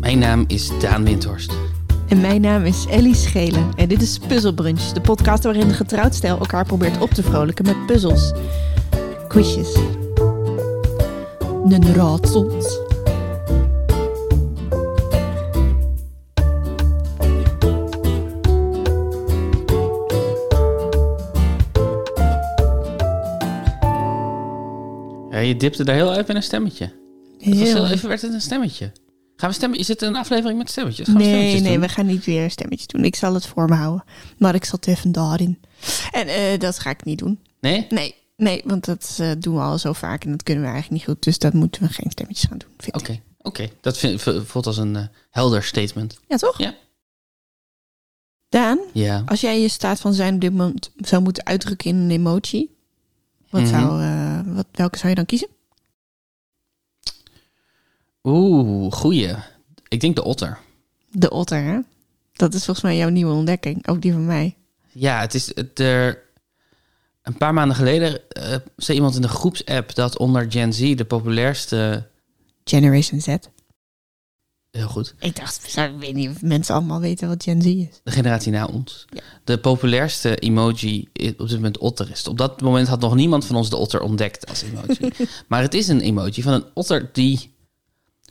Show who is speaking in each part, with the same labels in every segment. Speaker 1: Mijn naam is Daan Windhorst.
Speaker 2: En mijn naam is Ellie Schelen en dit is Puzzle Brunch, de podcast waarin de getrouwd stijl elkaar probeert op te vrolijken met puzzels, quizjes en raadsels.
Speaker 1: Ja, je dipte daar heel even in een stemmetje. Het was heel even werd het een stemmetje. Gaan we stemmen? Is het een aflevering met stemmetjes? Gaan we
Speaker 2: Nee,
Speaker 1: stemmetjes
Speaker 2: nee,
Speaker 1: doen?
Speaker 2: we gaan niet weer een stemmetje doen. Ik zal het voor me houden. Maar ik zat even daarin. En eh, dat ga ik niet doen.
Speaker 1: Nee? Oké.
Speaker 2: Nee, nee, want dat eh, doen we al zo vaak en dat kunnen we eigenlijk niet goed. Dus dat moeten we geen stemmetjes gaan doen, vind ik.
Speaker 1: Oké, dat vind, v- voelt als een eh, helder statement.
Speaker 2: Ja, toch?
Speaker 1: Ja.
Speaker 2: Daan,
Speaker 1: Ja.
Speaker 2: als jij je staat van zijn op dit moment zou moeten uitdrukken in een emoji, wat
Speaker 1: Mhm.
Speaker 2: zou, eh, wat, welke zou je dan kiezen?
Speaker 1: Oeh, goeie. Ik denk de otter.
Speaker 2: De otter, hè? Dat is volgens mij jouw nieuwe ontdekking, ook die van mij.
Speaker 1: Ja, het is het, er. Een paar maanden geleden eh, zei iemand in de groepsapp dat onder Gen Z de populairste.
Speaker 2: Generation Z.
Speaker 1: Heel goed.
Speaker 2: Ik dacht, ik weet niet of mensen allemaal weten wat Gen Z is.
Speaker 1: de generatie na ons.
Speaker 2: Ja.
Speaker 1: De populairste emoji i- op dit moment otter is. Op dat moment had nog niemand van ons de otter ontdekt als emoji. maar het is een emoji van een otter die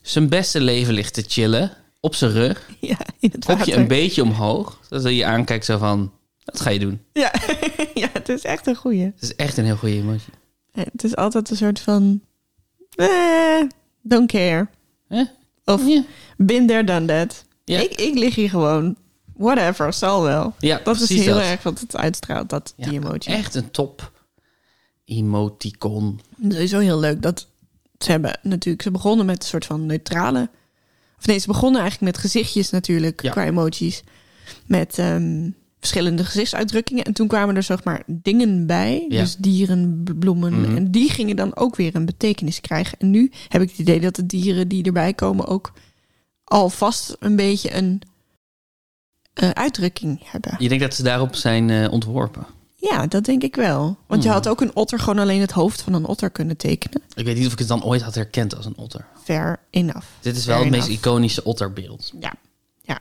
Speaker 1: zijn beste leven ligt te chillen. Op zijn rug,
Speaker 2: Ja, in het
Speaker 1: kopje
Speaker 2: water.
Speaker 1: een beetje omhoog. Dat hij je aankijkt zo van, wat ga je doen?
Speaker 2: ja. ja, het is echt een goeie.
Speaker 1: Het is echt een heel goede emoji.
Speaker 2: Eh, Het is altijd een soort van... Eh, don't care.
Speaker 1: Hè?
Speaker 2: Of
Speaker 1: Ja.
Speaker 2: been there, done that.
Speaker 1: Ja.
Speaker 2: Ik, ik lig hier gewoon. Whatever, zal wel.
Speaker 1: Ja,
Speaker 2: Dat is
Speaker 1: precies
Speaker 2: heel
Speaker 1: dat.
Speaker 2: erg wat het uitstraalt, dat,
Speaker 1: Ja,
Speaker 2: die emoji.
Speaker 1: Echt een top emoticon.
Speaker 2: Sowieso heel leuk dat ze hebben natuurlijk... Ze begonnen met een soort van neutrale... Of nee, ze begonnen eigenlijk met gezichtjes natuurlijk,
Speaker 1: Ja.
Speaker 2: qua emojis. Met ehm, verschillende gezichtsuitdrukkingen. En toen kwamen er zeg maar dingen bij.
Speaker 1: Ja.
Speaker 2: Dus dieren, b- bloemen.
Speaker 1: Mhm.
Speaker 2: En die gingen dan ook weer een betekenis krijgen. En nu heb ik het idee dat de dieren die erbij komen... ook alvast een beetje een eh, uitdrukking hebben.
Speaker 1: Je denkt dat ze daarop zijn eh, ontworpen.
Speaker 2: Ja, dat denk ik wel. Want je
Speaker 1: Hmm.
Speaker 2: had ook een otter gewoon alleen het hoofd van een otter kunnen tekenen.
Speaker 1: Ik weet niet of ik het dan ooit had herkend als een otter.
Speaker 2: Fair enough.
Speaker 1: Dit is wel
Speaker 2: Fair
Speaker 1: het meest
Speaker 2: enough.
Speaker 1: iconische otterbeeld.
Speaker 2: Ja, ja.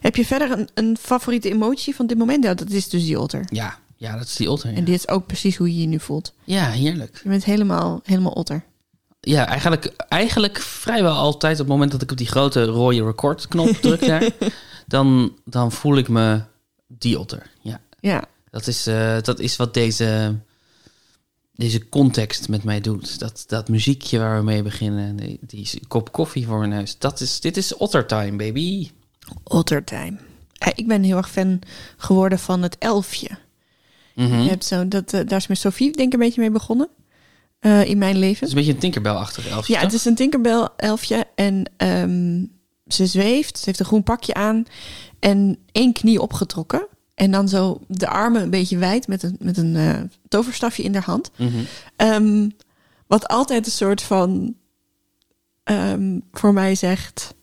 Speaker 2: Heb je verder een, een favoriete emotie van dit moment? Ja, dat is dus die otter.
Speaker 1: Ja, ja dat is die otter. Ja,
Speaker 2: En dit is ook precies hoe je je nu voelt.
Speaker 1: Ja, heerlijk.
Speaker 2: Je bent helemaal, helemaal otter.
Speaker 1: Ja, eigenlijk, eigenlijk vrijwel altijd op het moment dat ik op die grote rode recordknop druk daar, dan, dan voel ik me die otter. Ja,
Speaker 2: Ja,
Speaker 1: dat is, eh, dat is wat deze, deze context met mij doet. Dat, dat muziekje waar we mee beginnen, die, die kop koffie voor mijn neus. Dat is, dit is ottertime, baby.
Speaker 2: ottertime. Eh, Ik ben heel erg fan geworden van het elfje.
Speaker 1: Mhm.
Speaker 2: Je hebt zo, dat, eh, daar is met Sophie denk ik een beetje mee begonnen. eh, in mijn leven.
Speaker 1: Het is een beetje een Tinkerbell-achtig elfje,
Speaker 2: Ja,
Speaker 1: toch?
Speaker 2: het is een Tinkerbell elfje en ehm, ze zweeft. Ze heeft een groen pakje aan en één knie opgetrokken. En dan zo de armen een beetje wijd met een, met een eh, toverstafje in haar hand.
Speaker 1: Mhm.
Speaker 2: Ehm, wat altijd een soort van ehm, voor mij zegt...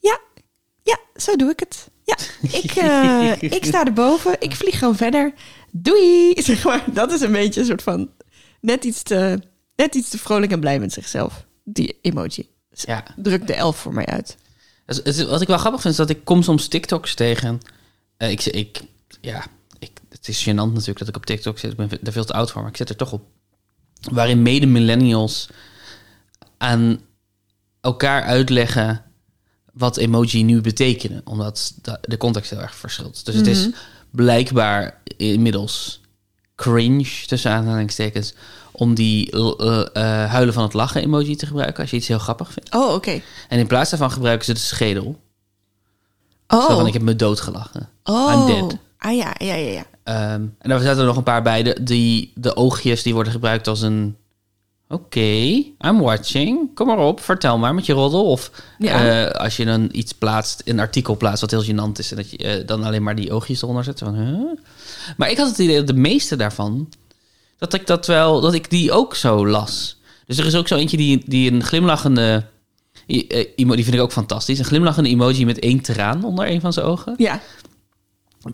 Speaker 2: Ja, ja, zo doe ik het. Ja, ik, eh, ik sta erboven. Ik vlieg gewoon verder. Doei! Zeg maar, dat is een beetje een soort van... Net iets te, net iets te vrolijk en blij met zichzelf. Die emoji.
Speaker 1: Ja.
Speaker 2: Druk de elf voor mij uit.
Speaker 1: Het- het- Wat ik wel grappig vind, is dat ik kom soms TikToks tegen. Eh, ik, ik, ja, ik, het is gênant natuurlijk dat ik op TikTok zit. Ik ben er veel te oud voor, maar ik zit er toch op. Waarin mede-millennials aan elkaar uitleggen wat emoji nu betekenen. Omdat da- de context heel erg verschilt. Dus het is blijkbaar inmiddels cringe, tussen aanhalingstekens... om die eh, eh, huilen van het lachen emoji te gebruiken als je iets heel grappig vindt.
Speaker 2: Oh, oké.
Speaker 1: En in plaats daarvan gebruiken ze de schedel. Zo
Speaker 2: Oh,
Speaker 1: van, ik heb me doodgelachen.
Speaker 2: oh.
Speaker 1: dead.
Speaker 2: Ah ja, ja, ja, ja.
Speaker 1: Ehm, en daar zaten er nog een paar bij. De, die, de oogjes die worden gebruikt als een... Oké, I'm watching. Kom maar op, vertel maar met je roddel. Of
Speaker 2: Ja.
Speaker 1: eh, als je dan iets plaatst, een artikel plaatst wat heel gênant is... en dat je eh, dan alleen maar die oogjes eronder zet. Van, huh? Maar ik had het idee dat de meeste daarvan... dat ik dat wel, dat ik die ook zo las. Dus er is ook zo eentje die, die een glimlachende... i- eh, emo- Die vind ik ook fantastisch. Een glimlachende emoji met één traan onder een van zijn ogen.
Speaker 2: Ja,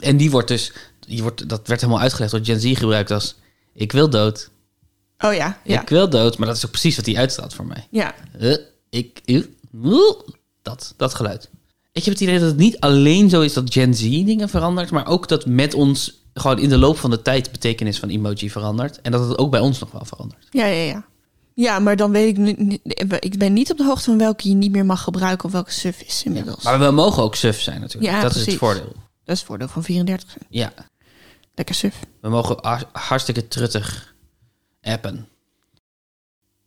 Speaker 1: En die wordt dus, die wordt, dat werd helemaal uitgelegd door Gen Z gebruikt als: ik wil dood,
Speaker 2: oh ja, ja.
Speaker 1: ik wil dood. Maar dat is ook precies wat die uitstraalt voor mij.
Speaker 2: Ja,
Speaker 1: Eh, ik, eh, woe, Dat, dat geluid. Ik heb het idee dat het niet alleen zo is dat Gen Z dingen verandert, maar ook dat met ons gewoon in de loop van de tijd de betekenis van emoji verandert. En dat het ook bij ons nog wel verandert.
Speaker 2: Ja, ja, ja. Ja, maar dan weet ik nu- nu... Ik ben niet op de hoogte van welke je niet meer mag gebruiken... of welke suf is inmiddels.
Speaker 1: Maar we mogen ook suf zijn natuurlijk.
Speaker 2: Ja,
Speaker 1: dat is
Speaker 2: precies.
Speaker 1: het voordeel.
Speaker 2: Dat is het voordeel van 34.
Speaker 1: Ja,
Speaker 2: Lekker suf.
Speaker 1: we mogen har- hartstikke truttig appen.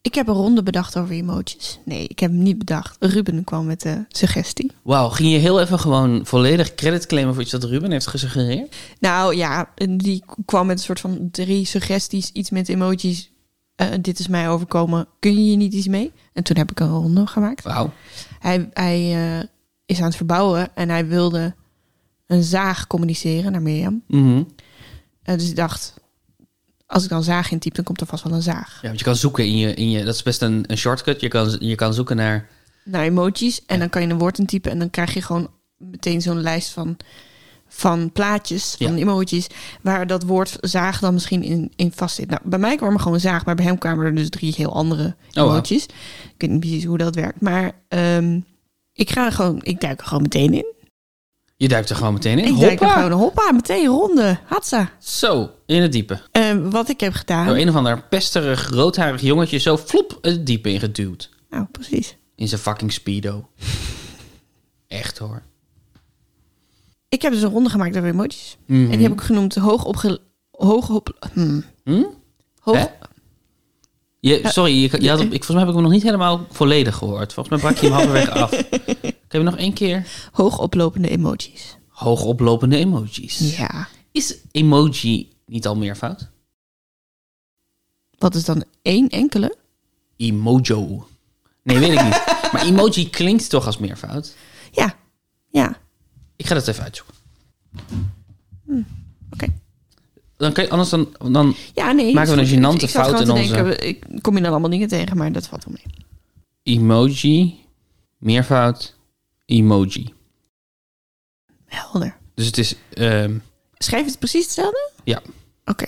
Speaker 2: Ik heb een ronde bedacht over emojis. Nee, ik heb hem niet bedacht. Ruben kwam met de suggestie.
Speaker 1: Wauw, ging je heel even gewoon volledig credit claimen voor iets dat Ruben heeft gesuggereerd?
Speaker 2: Nou ja, en die kwam met een soort van drie suggesties. Iets met emojis. Eh, dit is mij overkomen. Kun je hier niet iets mee? En toen heb ik een ronde gemaakt.
Speaker 1: Wauw.
Speaker 2: Hij, hij eh, is aan het verbouwen en hij wilde een zaag communiceren naar Mirjam.
Speaker 1: Mhm.
Speaker 2: Eh, dus ik dacht, als ik dan zaag intyp, dan komt er vast wel een zaag.
Speaker 1: Ja, want je kan zoeken in je, in je dat is best een, een shortcut. Je kan, je kan zoeken naar,
Speaker 2: Naar emojis. En dan kan je een woord intypen en dan krijg je gewoon meteen zo'n lijst van, van plaatjes, van
Speaker 1: Ja.
Speaker 2: emojis. Waar dat woord zaag dan misschien in, in vast zit. Nou, bij mij kwam er gewoon zaag, maar bij hem kwamen er dus drie heel andere
Speaker 1: Oh, wauw.
Speaker 2: emojis. Ik weet niet precies hoe dat werkt, maar ehm, ik, ga er gewoon, ik duik er gewoon meteen in.
Speaker 1: je duikt er gewoon meteen in.
Speaker 2: Ik duik er
Speaker 1: Hoppa!
Speaker 2: gewoon hoppa, meteen ronde. Hatsa.
Speaker 1: Zo, in het diepe.
Speaker 2: Eh, wat ik heb gedaan.
Speaker 1: Door een of ander pesterig, roodharig jongetje zo flop het diepe ingeduwd.
Speaker 2: Nou, precies.
Speaker 1: In zijn fucking speedo. Echt hoor.
Speaker 2: Ik heb dus een ronde gemaakt over emojis.
Speaker 1: Mhm.
Speaker 2: En die heb ik genoemd hoog opge... Hoog op... Hm.
Speaker 1: Hm?
Speaker 2: Hoog...
Speaker 1: Hè? Je, sorry, je, je had, hem- ik, volgens mij heb ik hem nog niet helemaal volledig gehoord. Volgens mij brak je hem halverwege af. Ik heb hem nog één keer.
Speaker 2: Hoog oplopende emojis.
Speaker 1: Hoogoplopende emojis.
Speaker 2: Ja.
Speaker 1: Is emoji niet al meer fout?
Speaker 2: Wat is dan één enkele?
Speaker 1: Emojo. Nee, weet ik niet. Maar emoji klinkt toch als meervoud?
Speaker 2: Ja. Ja.
Speaker 1: Ik ga dat even uitzoeken.
Speaker 2: Oké.
Speaker 1: Dan kan je, anders dan, dan...
Speaker 2: Ja, nee.
Speaker 1: Maken we
Speaker 2: is
Speaker 1: een
Speaker 2: goed.
Speaker 1: gênante
Speaker 2: Ik zat
Speaker 1: fout
Speaker 2: gewoon
Speaker 1: in
Speaker 2: te denken, ik kom je dan allemaal dingen tegen, maar dat valt wel mee.
Speaker 1: Emoji, meervoud, emoji.
Speaker 2: Helder.
Speaker 1: Dus het is... ehm,
Speaker 2: Schrijf het precies hetzelfde?
Speaker 1: Ja.
Speaker 2: Oké.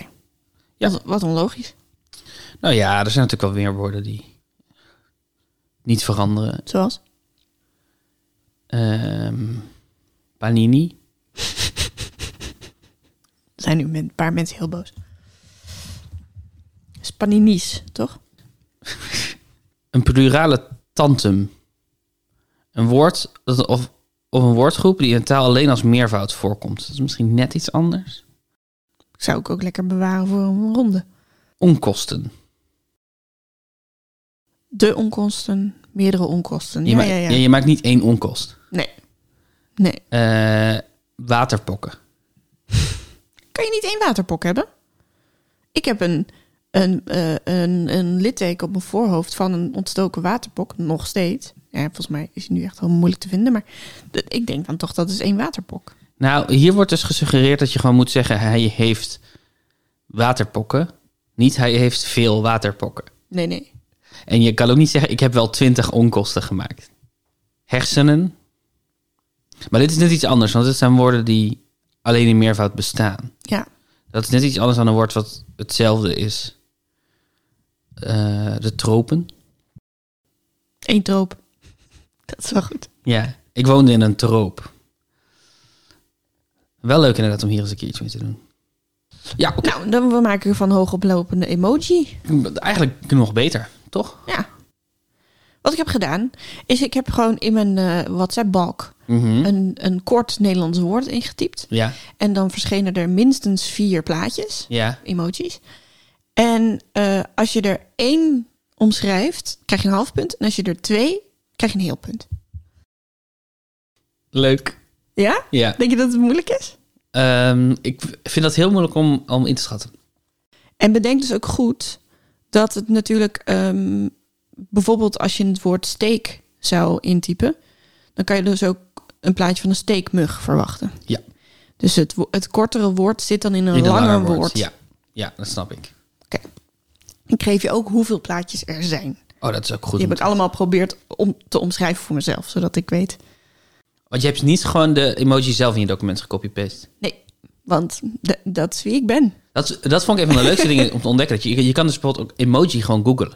Speaker 1: Ja.
Speaker 2: Wat, wat onlogisch.
Speaker 1: nou ja, er zijn natuurlijk wel meer woorden die niet veranderen.
Speaker 2: Zoals?
Speaker 1: Ehm panini.
Speaker 2: Er zijn nu men- een paar mensen heel boos. Spaninis, toch?
Speaker 1: Een plurale tantum. Een woord dat, of, of een woordgroep die in een taal alleen als meervoud voorkomt. Dat is misschien net iets anders.
Speaker 2: Zou ik ook lekker bewaren voor een ronde.
Speaker 1: Onkosten.
Speaker 2: De onkosten, meerdere onkosten.
Speaker 1: Je,
Speaker 2: Ja,
Speaker 1: ma-
Speaker 2: ja, ja.
Speaker 1: ja, je maakt niet één onkost.
Speaker 2: Nee. Nee.
Speaker 1: Eh, waterpokken.
Speaker 2: Kan je niet één waterpok hebben? Ik heb een, een, eh, een, een litteken op mijn voorhoofd van een ontstoken waterpok. Nog steeds. Ja, volgens mij is die nu echt wel moeilijk te vinden. Maar d- ik denk dan toch dat is één waterpok.
Speaker 1: Nou, hier wordt dus gesuggereerd dat je gewoon moet zeggen... hij heeft waterpokken. Niet hij heeft veel waterpokken.
Speaker 2: Nee, nee.
Speaker 1: En je kan ook niet zeggen, ik heb wel twintig onkosten gemaakt. Hersenen. Maar dit is net iets anders, want dit zijn woorden die alleen in meervoud bestaan.
Speaker 2: Ja.
Speaker 1: Dat is net iets anders dan een woord wat hetzelfde is. Eh, de tropen.
Speaker 2: Eén troop. Dat is wel goed.
Speaker 1: Ja, ik woonde in een troop. Wel leuk inderdaad om hier eens een keer iets mee te doen. Ja, oké.
Speaker 2: Nou, dan we maken van hoogoplopende emoji.
Speaker 1: eigenlijk nog beter, toch?
Speaker 2: Ja. Wat ik heb gedaan, is ik heb gewoon in mijn eh, WhatsApp-balk
Speaker 1: Mhm.
Speaker 2: een, een kort Nederlands woord ingetypt.
Speaker 1: Ja,
Speaker 2: En dan verschenen er minstens vier plaatjes,
Speaker 1: ja.
Speaker 2: emojis. En eh, als je er één omschrijft, krijg je een half punt. En als je er twee, krijg je een heel punt.
Speaker 1: Leuk.
Speaker 2: Ja?
Speaker 1: Ja.
Speaker 2: Denk je dat het moeilijk is?
Speaker 1: Ehm, ik vind dat heel moeilijk om, om in te schatten.
Speaker 2: En bedenk dus ook goed dat het natuurlijk... ehm, bijvoorbeeld als je het woord steek zou intypen... dan kan je dus ook een plaatje van een steekmug verwachten.
Speaker 1: Ja.
Speaker 2: Dus het, wo- het kortere woord zit dan in een,
Speaker 1: In een
Speaker 2: langer,
Speaker 1: langer
Speaker 2: woord.
Speaker 1: Ja. ja, dat snap ik.
Speaker 2: Ik geef je ook hoeveel plaatjes er zijn.
Speaker 1: Oh, dat is ook goed.
Speaker 2: Die
Speaker 1: om
Speaker 2: heb
Speaker 1: te-
Speaker 2: ik allemaal geprobeerd om te omschrijven voor mezelf, zodat ik weet.
Speaker 1: Want je hebt niet gewoon de emoji zelf in je document gecopy-paste.
Speaker 2: Nee, want d- dat is wie ik ben.
Speaker 1: Dat, dat vond ik een van de leukste dingen om te ontdekken. Dat je, je kan dus bijvoorbeeld ook emoji gewoon googlen.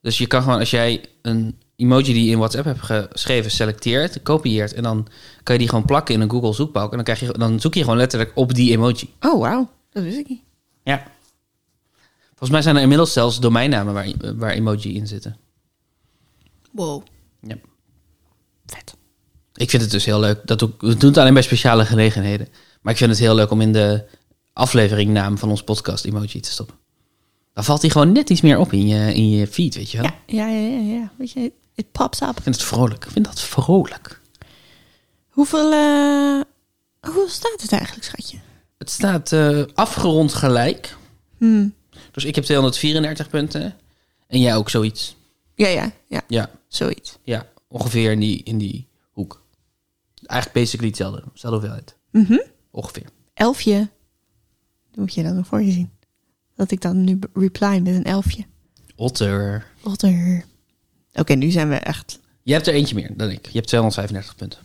Speaker 1: Dus je kan gewoon, als jij een emoji die je in WhatsApp hebt geschreven selecteert, kopieert en dan kan je die gewoon plakken in een Google zoekbalk en dan, krijg je, dan zoek je gewoon letterlijk op die emoji.
Speaker 2: Oh, wauw. Dat wist ik niet.
Speaker 1: Ja. Volgens mij zijn er inmiddels zelfs domeinnamen waar, waar emoji in zitten.
Speaker 2: Wow.
Speaker 1: Ja.
Speaker 2: Vet.
Speaker 1: Ik vind het dus heel leuk. Dat doe, ik- we doen het alleen bij speciale gelegenheden. Maar ik vind het heel leuk om in de afleveringnaam van ons podcast emoji te stoppen. Dan valt die gewoon net iets meer op in je, in je feed, weet je wel.
Speaker 2: Ja, ja, ja, ja. ja. Weet je, it pops up.
Speaker 1: Ik vind het vrolijk. Ik vind dat vrolijk.
Speaker 2: Hoeveel, eh, hoeveel staat het eigenlijk, schatje?
Speaker 1: Het staat eh, afgerond gelijk.
Speaker 2: Hmm.
Speaker 1: Dus ik heb 234 punten. En jij ook zoiets.
Speaker 2: Ja, ja, ja.
Speaker 1: Ja,
Speaker 2: Zoiets.
Speaker 1: ja ongeveer in die, in die hoek. Eigenlijk basically hetzelfde. Hetzelfde hoeveelheid.
Speaker 2: Mhm.
Speaker 1: Ongeveer.
Speaker 2: Elfje. Dat moet je dan nog voor je zien. Dat ik dan nu b- reply met een elfje.
Speaker 1: Otter.
Speaker 2: Otter. Oké, nu zijn we echt...
Speaker 1: Je hebt er eentje meer dan ik. Je hebt 235 punten.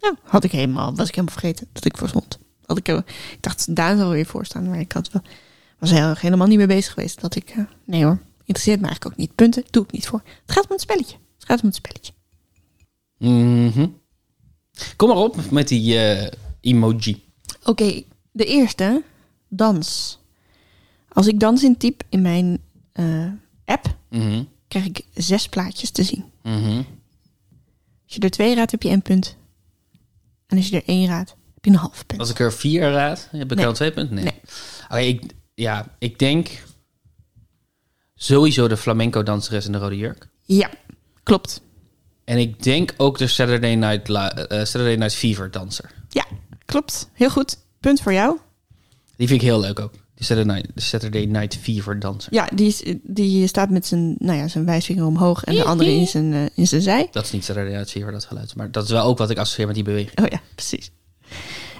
Speaker 2: Nou, had ik helemaal, was ik helemaal vergeten dat ik voor stond. Had ik, heel- ik dacht, Daan zal weer voor staan, maar ik had wel, was heel, erg helemaal niet mee bezig geweest. Dat ik, eh, nee hoor, interesseert me eigenlijk ook niet. Punten doe ik niet voor. Het gaat om het spelletje. Het gaat om het spelletje.
Speaker 1: Mhm. Kom maar op met die eh, emoji.
Speaker 2: Oké, de eerste, dans. Als ik dans intyp in mijn eh, app,
Speaker 1: Mhm.
Speaker 2: krijg ik zes plaatjes te zien.
Speaker 1: Mhm.
Speaker 2: Als je er twee raadt, heb je één punt. En als je er één raadt, heb je een half punt.
Speaker 1: Als ik er vier raad, heb ik
Speaker 2: Nee.
Speaker 1: er al twee punten? Nee.
Speaker 2: Nee.
Speaker 1: Oké, ik, ja, ik denk sowieso de flamenco danseres in de rode jurk.
Speaker 2: Ja, klopt.
Speaker 1: En ik denk ook de Saturday Night, La- eh, Saturday Night Fever danser.
Speaker 2: Ja, klopt. Heel goed. Punt voor jou.
Speaker 1: Die vind ik heel leuk ook. Die Saturday Night, de Saturday Night Fever danser.
Speaker 2: Ja, die, is, die staat met zijn, nou ja, zijn wijsvinger omhoog en de andere in zijn, eh, in zijn zij.
Speaker 1: Dat is niet Saturday Night Fever, dat geluid. Maar dat is wel ook wat ik associeer met die beweging.
Speaker 2: Oh ja, precies.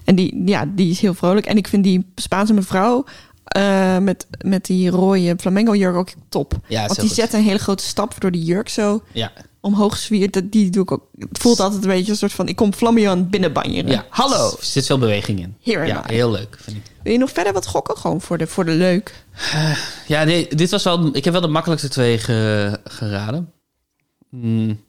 Speaker 2: En die, ja, die is heel vrolijk. En ik vind die Spaanse mevrouw eh, met, met die rode flamingo jurk ook top.
Speaker 1: Ja,
Speaker 2: Want die zet een hele grote stap waardoor die jurk zo
Speaker 1: Ja,
Speaker 2: omhoog zwiert. Dat- Die doe ik ook. Het voelt altijd een beetje een soort van: ik kom Flamion binnenbanjeren.
Speaker 1: ja.
Speaker 2: Hallo.
Speaker 1: Er zit veel beweging in.
Speaker 2: Here am
Speaker 1: ja,
Speaker 2: I.
Speaker 1: heel leuk, vind ik.
Speaker 2: Wil je nog verder wat gokken? Gewoon voor de, voor de leuk.
Speaker 1: Ja, nee, dit was wel. Ik heb wel de makkelijkste twee ge- geraden. Hmm.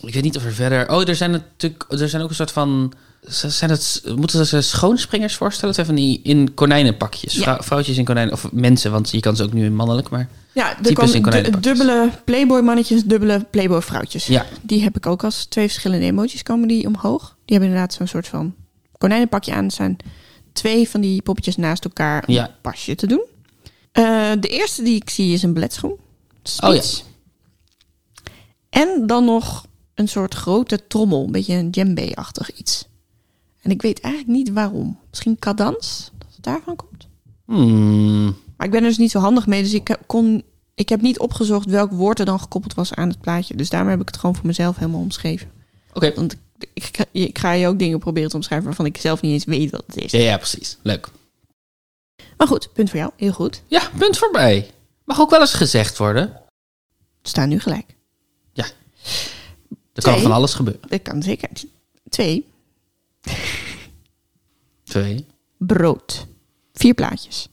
Speaker 1: Ik weet niet of er verder. Oh, er zijn natuurlijk. Er zijn ook een soort van. z- Zijn het, moeten ze schoonspringers voorstellen? Het zijn van die in konijnenpakjes.
Speaker 2: Ja.
Speaker 1: Vrou- vrouwtjes in konijnen. Of mensen, want je kan ze ook nu in mannelijk. Maar
Speaker 2: Ja, er
Speaker 1: Types
Speaker 2: kwam
Speaker 1: in
Speaker 2: du-
Speaker 1: konijnenpakjes.
Speaker 2: dubbele Playboy mannetjes, dubbele Playboy vrouwtjes.
Speaker 1: ja,
Speaker 2: Die heb ik ook als twee verschillende emoties komen die omhoog. Die hebben inderdaad zo'n soort van konijnenpakje aan. Er zijn twee van die poppetjes naast elkaar om
Speaker 1: Ja.
Speaker 2: een pasje te doen. Eh, de eerste die ik zie is een beledschoen.
Speaker 1: Oh
Speaker 2: Spits. En dan nog een soort grote trommel. Een beetje een djembe-achtig iets. En ik weet eigenlijk niet waarom. Misschien cadans, dat het daarvan komt.
Speaker 1: Hmm.
Speaker 2: Maar ik ben er dus niet zo handig mee. Dus ik kon... Ik heb niet opgezocht welk woord er dan gekoppeld was aan het plaatje. Dus daarom heb ik het gewoon voor mezelf helemaal omschreven.
Speaker 1: Oké.
Speaker 2: Want ik, ik, ga- ik ga je ook dingen proberen te omschrijven waarvan ik zelf niet eens weet wat het is.
Speaker 1: Ja, ja, precies. Leuk.
Speaker 2: Maar goed, punt voor jou. Heel goed.
Speaker 1: Ja, punt voorbij. Mag ook wel eens gezegd worden.
Speaker 2: We staan nu gelijk.
Speaker 1: Er kan
Speaker 2: Twee.
Speaker 1: van alles gebeuren.
Speaker 2: Dat kan zeker. Twee,
Speaker 1: Twee.
Speaker 2: brood. Vier plaatjes.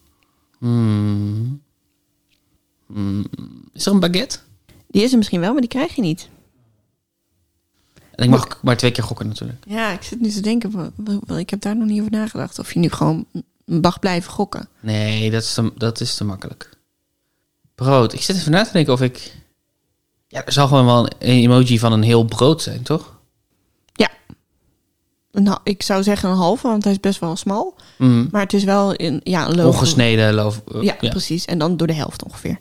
Speaker 1: Hmm. Hmm. Is er een baguette?
Speaker 2: Die is er misschien wel, maar die krijg je niet.
Speaker 1: En ik mag ook maar twee keer gokken natuurlijk.
Speaker 2: Ja, ik zit nu te denken, wa- wa- wa- ik heb daar nog niet over nagedacht. Of je nu gewoon mag blijven gokken.
Speaker 1: Nee, dat is te, dat is te makkelijk. Brood. Ik zit even na te denken of ik... Ja, er zal gewoon wel een emoji van een heel brood zijn, toch?
Speaker 2: Nou, ik zou zeggen een halve, want hij is best wel smal.
Speaker 1: Mm.
Speaker 2: Maar het is wel een, ja, een logo.
Speaker 1: Ongesneden loof. eh,
Speaker 2: Ja,
Speaker 1: ja.
Speaker 2: precies. En dan door de helft ongeveer.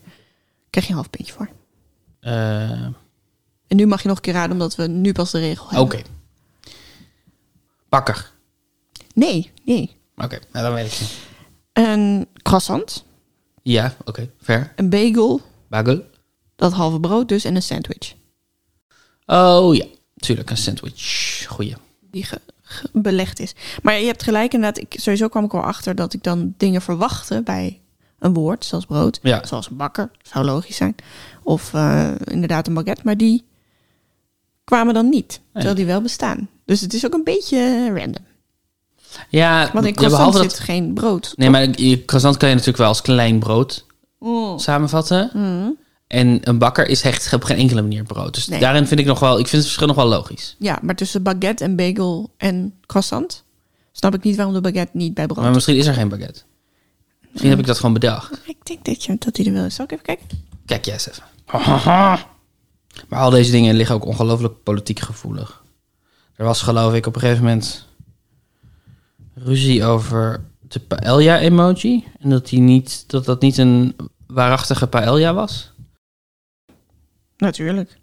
Speaker 2: Krijg je een half puntje voor.
Speaker 1: Eh,
Speaker 2: En nu mag je nog een keer raden, omdat we nu pas de regel
Speaker 1: Oké.
Speaker 2: hebben.
Speaker 1: Bakker.
Speaker 2: Nee, nee.
Speaker 1: Oké, nou dan weet ik het. niet.
Speaker 2: Een croissant,
Speaker 1: Ja, oké. Ver.
Speaker 2: een bagel,
Speaker 1: Bagel.
Speaker 2: dat halve brood dus en een sandwich.
Speaker 1: Oh ja, tuurlijk. Een sandwich. Goeie.
Speaker 2: Die ge- ge- belegd is. Maar je hebt gelijk inderdaad, ik, sowieso kwam ik wel achter dat ik dan dingen verwachtte bij een woord, zoals brood.
Speaker 1: Ja.
Speaker 2: Zoals een bakker, zou logisch zijn. Of eh, inderdaad een baguette, maar die kwamen dan niet. Terwijl die wel bestaan. Dus het is ook een beetje random.
Speaker 1: Ja,
Speaker 2: Want
Speaker 1: ja, behalve
Speaker 2: in croissant
Speaker 1: dat...
Speaker 2: zit geen brood.
Speaker 1: Nee, maar je croissant kan je natuurlijk wel als klein brood
Speaker 2: Mm.
Speaker 1: samenvatten. En een bakker is echt op geen enkele manier brood. Dus
Speaker 2: Nee.
Speaker 1: daarin vind ik nog wel, ik vind het verschil nog wel logisch.
Speaker 2: Ja, maar tussen baguette en bagel en croissant snap ik niet waarom de baguette niet bij brood.
Speaker 1: Maar misschien is er geen baguette. Misschien heb ik dat gewoon bedacht.
Speaker 2: Ik denk dat, je, dat hij er wel is. Zal ik even kijken?
Speaker 1: Kijk jij eens even. Maar al deze dingen liggen ook ongelooflijk politiek gevoelig. Er was geloof ik op een gegeven moment ruzie over de paella-emoji. En dat, die niet, dat dat niet een waarachtige paella was.
Speaker 2: Natuurlijk.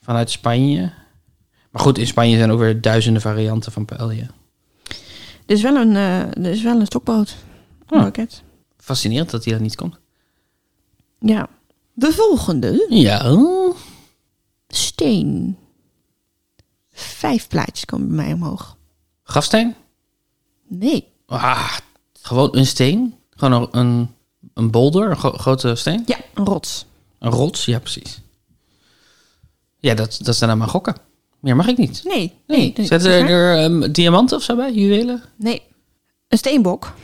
Speaker 1: vanuit Spanje. Maar goed, in Spanje zijn ook weer duizenden varianten van paella.
Speaker 2: Er is wel een, eh er is wel een stokbrood. Een
Speaker 1: Oh.
Speaker 2: baguette.
Speaker 1: Fascinerend dat die dat niet komt.
Speaker 2: Ja. De volgende.
Speaker 1: Ja.
Speaker 2: Steen. Vijf plaatjes komen bij mij omhoog.
Speaker 1: Grafsteen?
Speaker 2: Nee.
Speaker 1: Ah, gewoon een steen. Gewoon een, een, een bolder, een gro- grote steen.
Speaker 2: Ja, een rots.
Speaker 1: Een rots, ja precies. Ja, dat, dat zijn dan maar gokken. Meer mag ik niet.
Speaker 2: Nee.
Speaker 1: Nee,
Speaker 2: nee.
Speaker 1: zetten er, er ehm, diamanten of zo bij? Juwelen?
Speaker 2: Nee. Een steenbok.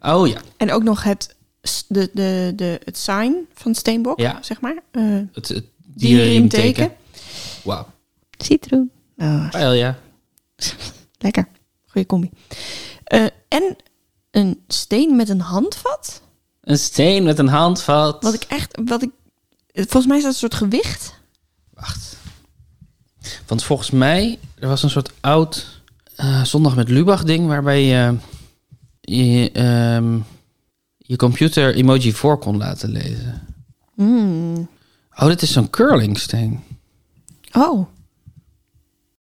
Speaker 1: Oh ja,
Speaker 2: En ook nog het, s- de, de, de, het sign van steenbok,
Speaker 1: Ja.
Speaker 2: zeg maar. Eh
Speaker 1: het, het
Speaker 2: dierenriemteken.
Speaker 1: dierenriemteken. Wauw,
Speaker 2: Citroen. Oh,
Speaker 1: paella.
Speaker 2: lekker. Goeie combi. Eh, en een steen met een handvat.
Speaker 1: Een steen met een handvat.
Speaker 2: Wat ik echt... Wat ik, volgens mij is dat een soort gewicht.
Speaker 1: Wacht. Want volgens mij, er was een soort oud eh, zondag met Lubach ding waarbij je je, ehm, je computer emoji voor kon laten lezen.
Speaker 2: Mm.
Speaker 1: Oh, dit is zo'n curlingsteen.
Speaker 2: Oh,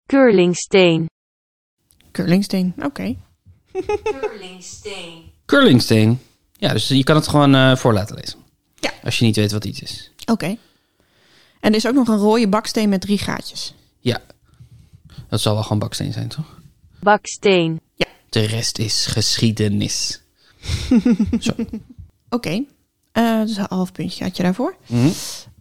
Speaker 3: Curlingsteen.
Speaker 2: curlingsteen. Oké.
Speaker 3: Curlingsteen.
Speaker 1: Curlingsteen. Ja, dus je kan het gewoon eh, voor laten lezen.
Speaker 2: Ja.
Speaker 1: Als je niet weet wat iets is.
Speaker 2: Oké. En er is ook nog een rode baksteen met drie gaatjes.
Speaker 1: Ja. Dat zal wel gewoon baksteen zijn, toch?
Speaker 3: Baksteen.
Speaker 1: De rest is geschiedenis.
Speaker 2: Oké. Eh, dus een half puntje had je daarvoor.
Speaker 1: Mhm.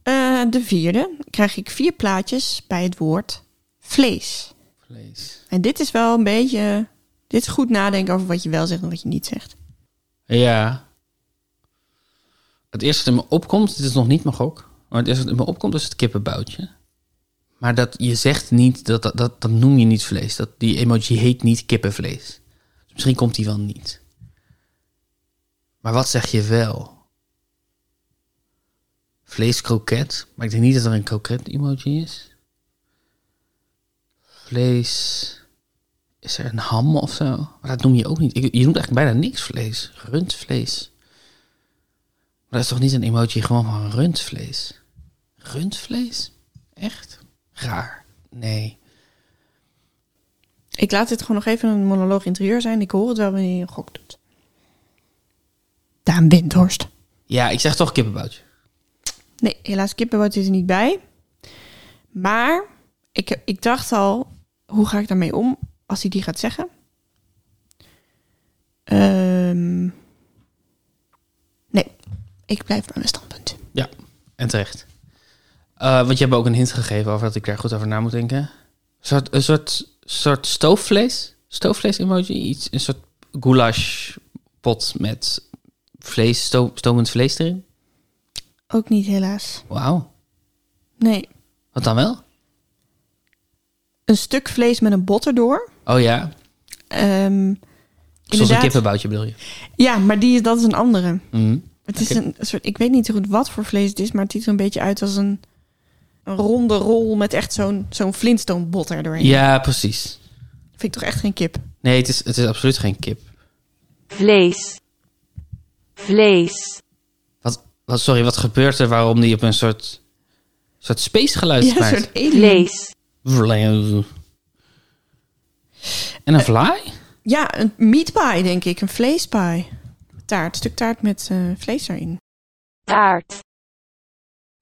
Speaker 2: Eh, de vierde krijg ik vier plaatjes bij het woord vlees.
Speaker 1: Vlees.
Speaker 2: En dit is wel een beetje... Dit is goed nadenken over wat je wel zegt en wat je niet zegt.
Speaker 1: Ja. Het eerste dat in me opkomt, dit is nog niet mijn gok, maar het eerste dat in me opkomt is het kippenboutje. Maar dat, je zegt niet, dat, dat, dat, dat noem je niet vlees. Dat, die emoji heet niet kippenvlees. Dus misschien komt die wel niet. Maar wat zeg je wel? Vleeskroket? Maar ik denk niet dat er een kroket-emoji is. Vlees... Is er een ham of zo? Maar dat noem je ook niet. Ik- Je noemt eigenlijk bijna niks vlees. Rundvlees. Maar dat is toch niet een emoji gewoon van rundvlees? Rundvlees? Echt? Raar. Nee.
Speaker 2: Ik laat dit gewoon nog even een monoloog interieur zijn. Ik hoor het wel wanneer je een gok doet. Daan Windhorst.
Speaker 1: Ja, ik zeg toch kippenboutje.
Speaker 2: Nee, helaas kippenbout zit er niet bij. Maar ik, ik dacht al, hoe ga ik daarmee om als hij die gaat zeggen? Ehm, nee, ik blijf bij mijn standpunt.
Speaker 1: Ja, en terecht. Eh, want je hebt ook een hint gegeven over dat ik daar goed over na moet denken. Een soort, een soort, soort stoofvlees? Stoofvlees-emoji? Iets, een soort goulashpot met vlees, sto- stomend vlees erin?
Speaker 2: Ook niet helaas.
Speaker 1: Wauw.
Speaker 2: Nee,
Speaker 1: Wat dan wel?
Speaker 2: een stuk vlees met een bot erdoor.
Speaker 1: Oh ja,
Speaker 2: Ehm,
Speaker 1: Zoals een
Speaker 2: inderdaad.
Speaker 1: kippenboutje bedoel je?
Speaker 2: Ja, maar die, is- dat is een andere.
Speaker 1: Mhm.
Speaker 2: Het is
Speaker 1: Oké.
Speaker 2: een soort, ik weet niet zo goed wat voor vlees het is, maar het ziet er een beetje uit als een, een ronde rol met echt zo'n zo'n flintstone bot erdoorheen.
Speaker 1: Ja, precies.
Speaker 2: Vind ik toch echt geen kip.
Speaker 1: Nee, het is, het is absoluut geen kip.
Speaker 3: Vlees. Vlees.
Speaker 1: Wat, wat, sorry, wat gebeurt er waarom die op een soort, soort spacegeluid
Speaker 2: Ja, een
Speaker 1: maakt?
Speaker 2: soort alien.
Speaker 3: Vlees.
Speaker 1: Vleeuw. En een
Speaker 2: Eh,
Speaker 1: vlaai?
Speaker 2: Ja, een meat pie, denk ik. Een vleespie. Taart, stuk taart met eh, vlees erin.
Speaker 3: Taart.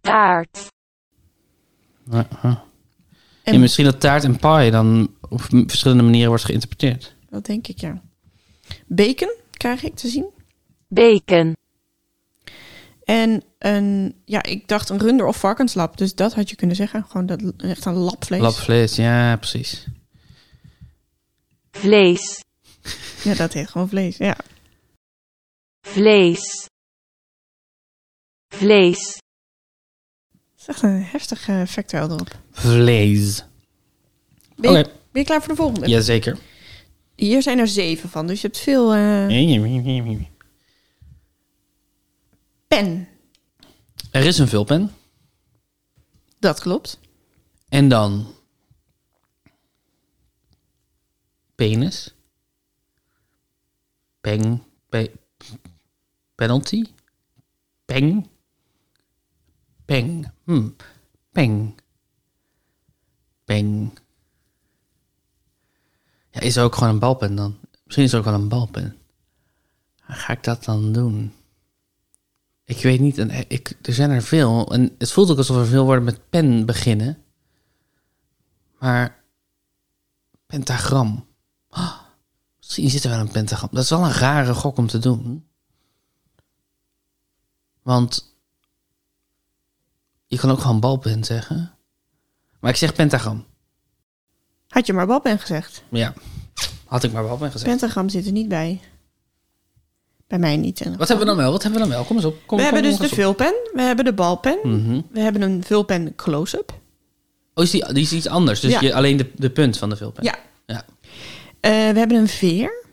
Speaker 3: Taart.
Speaker 1: Ja, ja.
Speaker 2: En-
Speaker 1: Ja, misschien dat taart en pie dan op m- verschillende manieren wordt geïnterpreteerd.
Speaker 2: Dat denk ik, ja. Bacon krijg ik te zien.
Speaker 3: Bacon.
Speaker 2: En een, ja, ik dacht een runder of varkenslap. Dus dat had je kunnen zeggen. Gewoon dat, echt een lap vlees.
Speaker 1: Lapvlees, ja, precies.
Speaker 3: Vlees.
Speaker 2: Ja, dat heet gewoon vlees, ja.
Speaker 3: Vlees. Vlees.
Speaker 2: is echt een heftige factor erop.
Speaker 1: Vlees.
Speaker 2: Ben, je,
Speaker 1: Oké.
Speaker 2: ben je klaar voor de volgende?
Speaker 1: Jazeker.
Speaker 2: Hier zijn er zeven van, dus je hebt veel eh, pen.
Speaker 1: Er is een vulpen.
Speaker 2: Dat klopt.
Speaker 1: En dan... Penis. Peng. Pe penalty. Peng. Peng. Hm. Peng. Peng. Ja, is er ook gewoon een balpen dan? Misschien is er ook wel een balpen. Ga ik dat dan doen? Ik weet niet. en Ik, er zijn er veel. En het voelt ook alsof er veel woorden met pen beginnen. Maar pentagram. Ah, misschien zit er wel een pentagram. Dat is wel een rare gok om te doen. Want je kan ook gewoon balpen zeggen. Maar ik zeg pentagram.
Speaker 2: Had je maar balpen gezegd.
Speaker 1: Ja, had ik maar balpen gezegd.
Speaker 2: Pentagram zit er niet bij. Bij mij niet. in ieder
Speaker 1: Wat
Speaker 2: geval.
Speaker 1: hebben we dan wel? Wat hebben we dan wel? Kom eens op. Kom,
Speaker 2: we hebben
Speaker 1: kom
Speaker 2: dus de
Speaker 1: eens op.
Speaker 2: vulpen, we hebben de balpen,
Speaker 1: Mhm.
Speaker 2: we hebben een vulpen close-up.
Speaker 1: Oh, is die, die is iets anders. Dus
Speaker 2: Ja.
Speaker 1: je, alleen de, de punt van de vulpen.
Speaker 2: Ja.
Speaker 1: ja.
Speaker 2: Eh, we hebben een veer,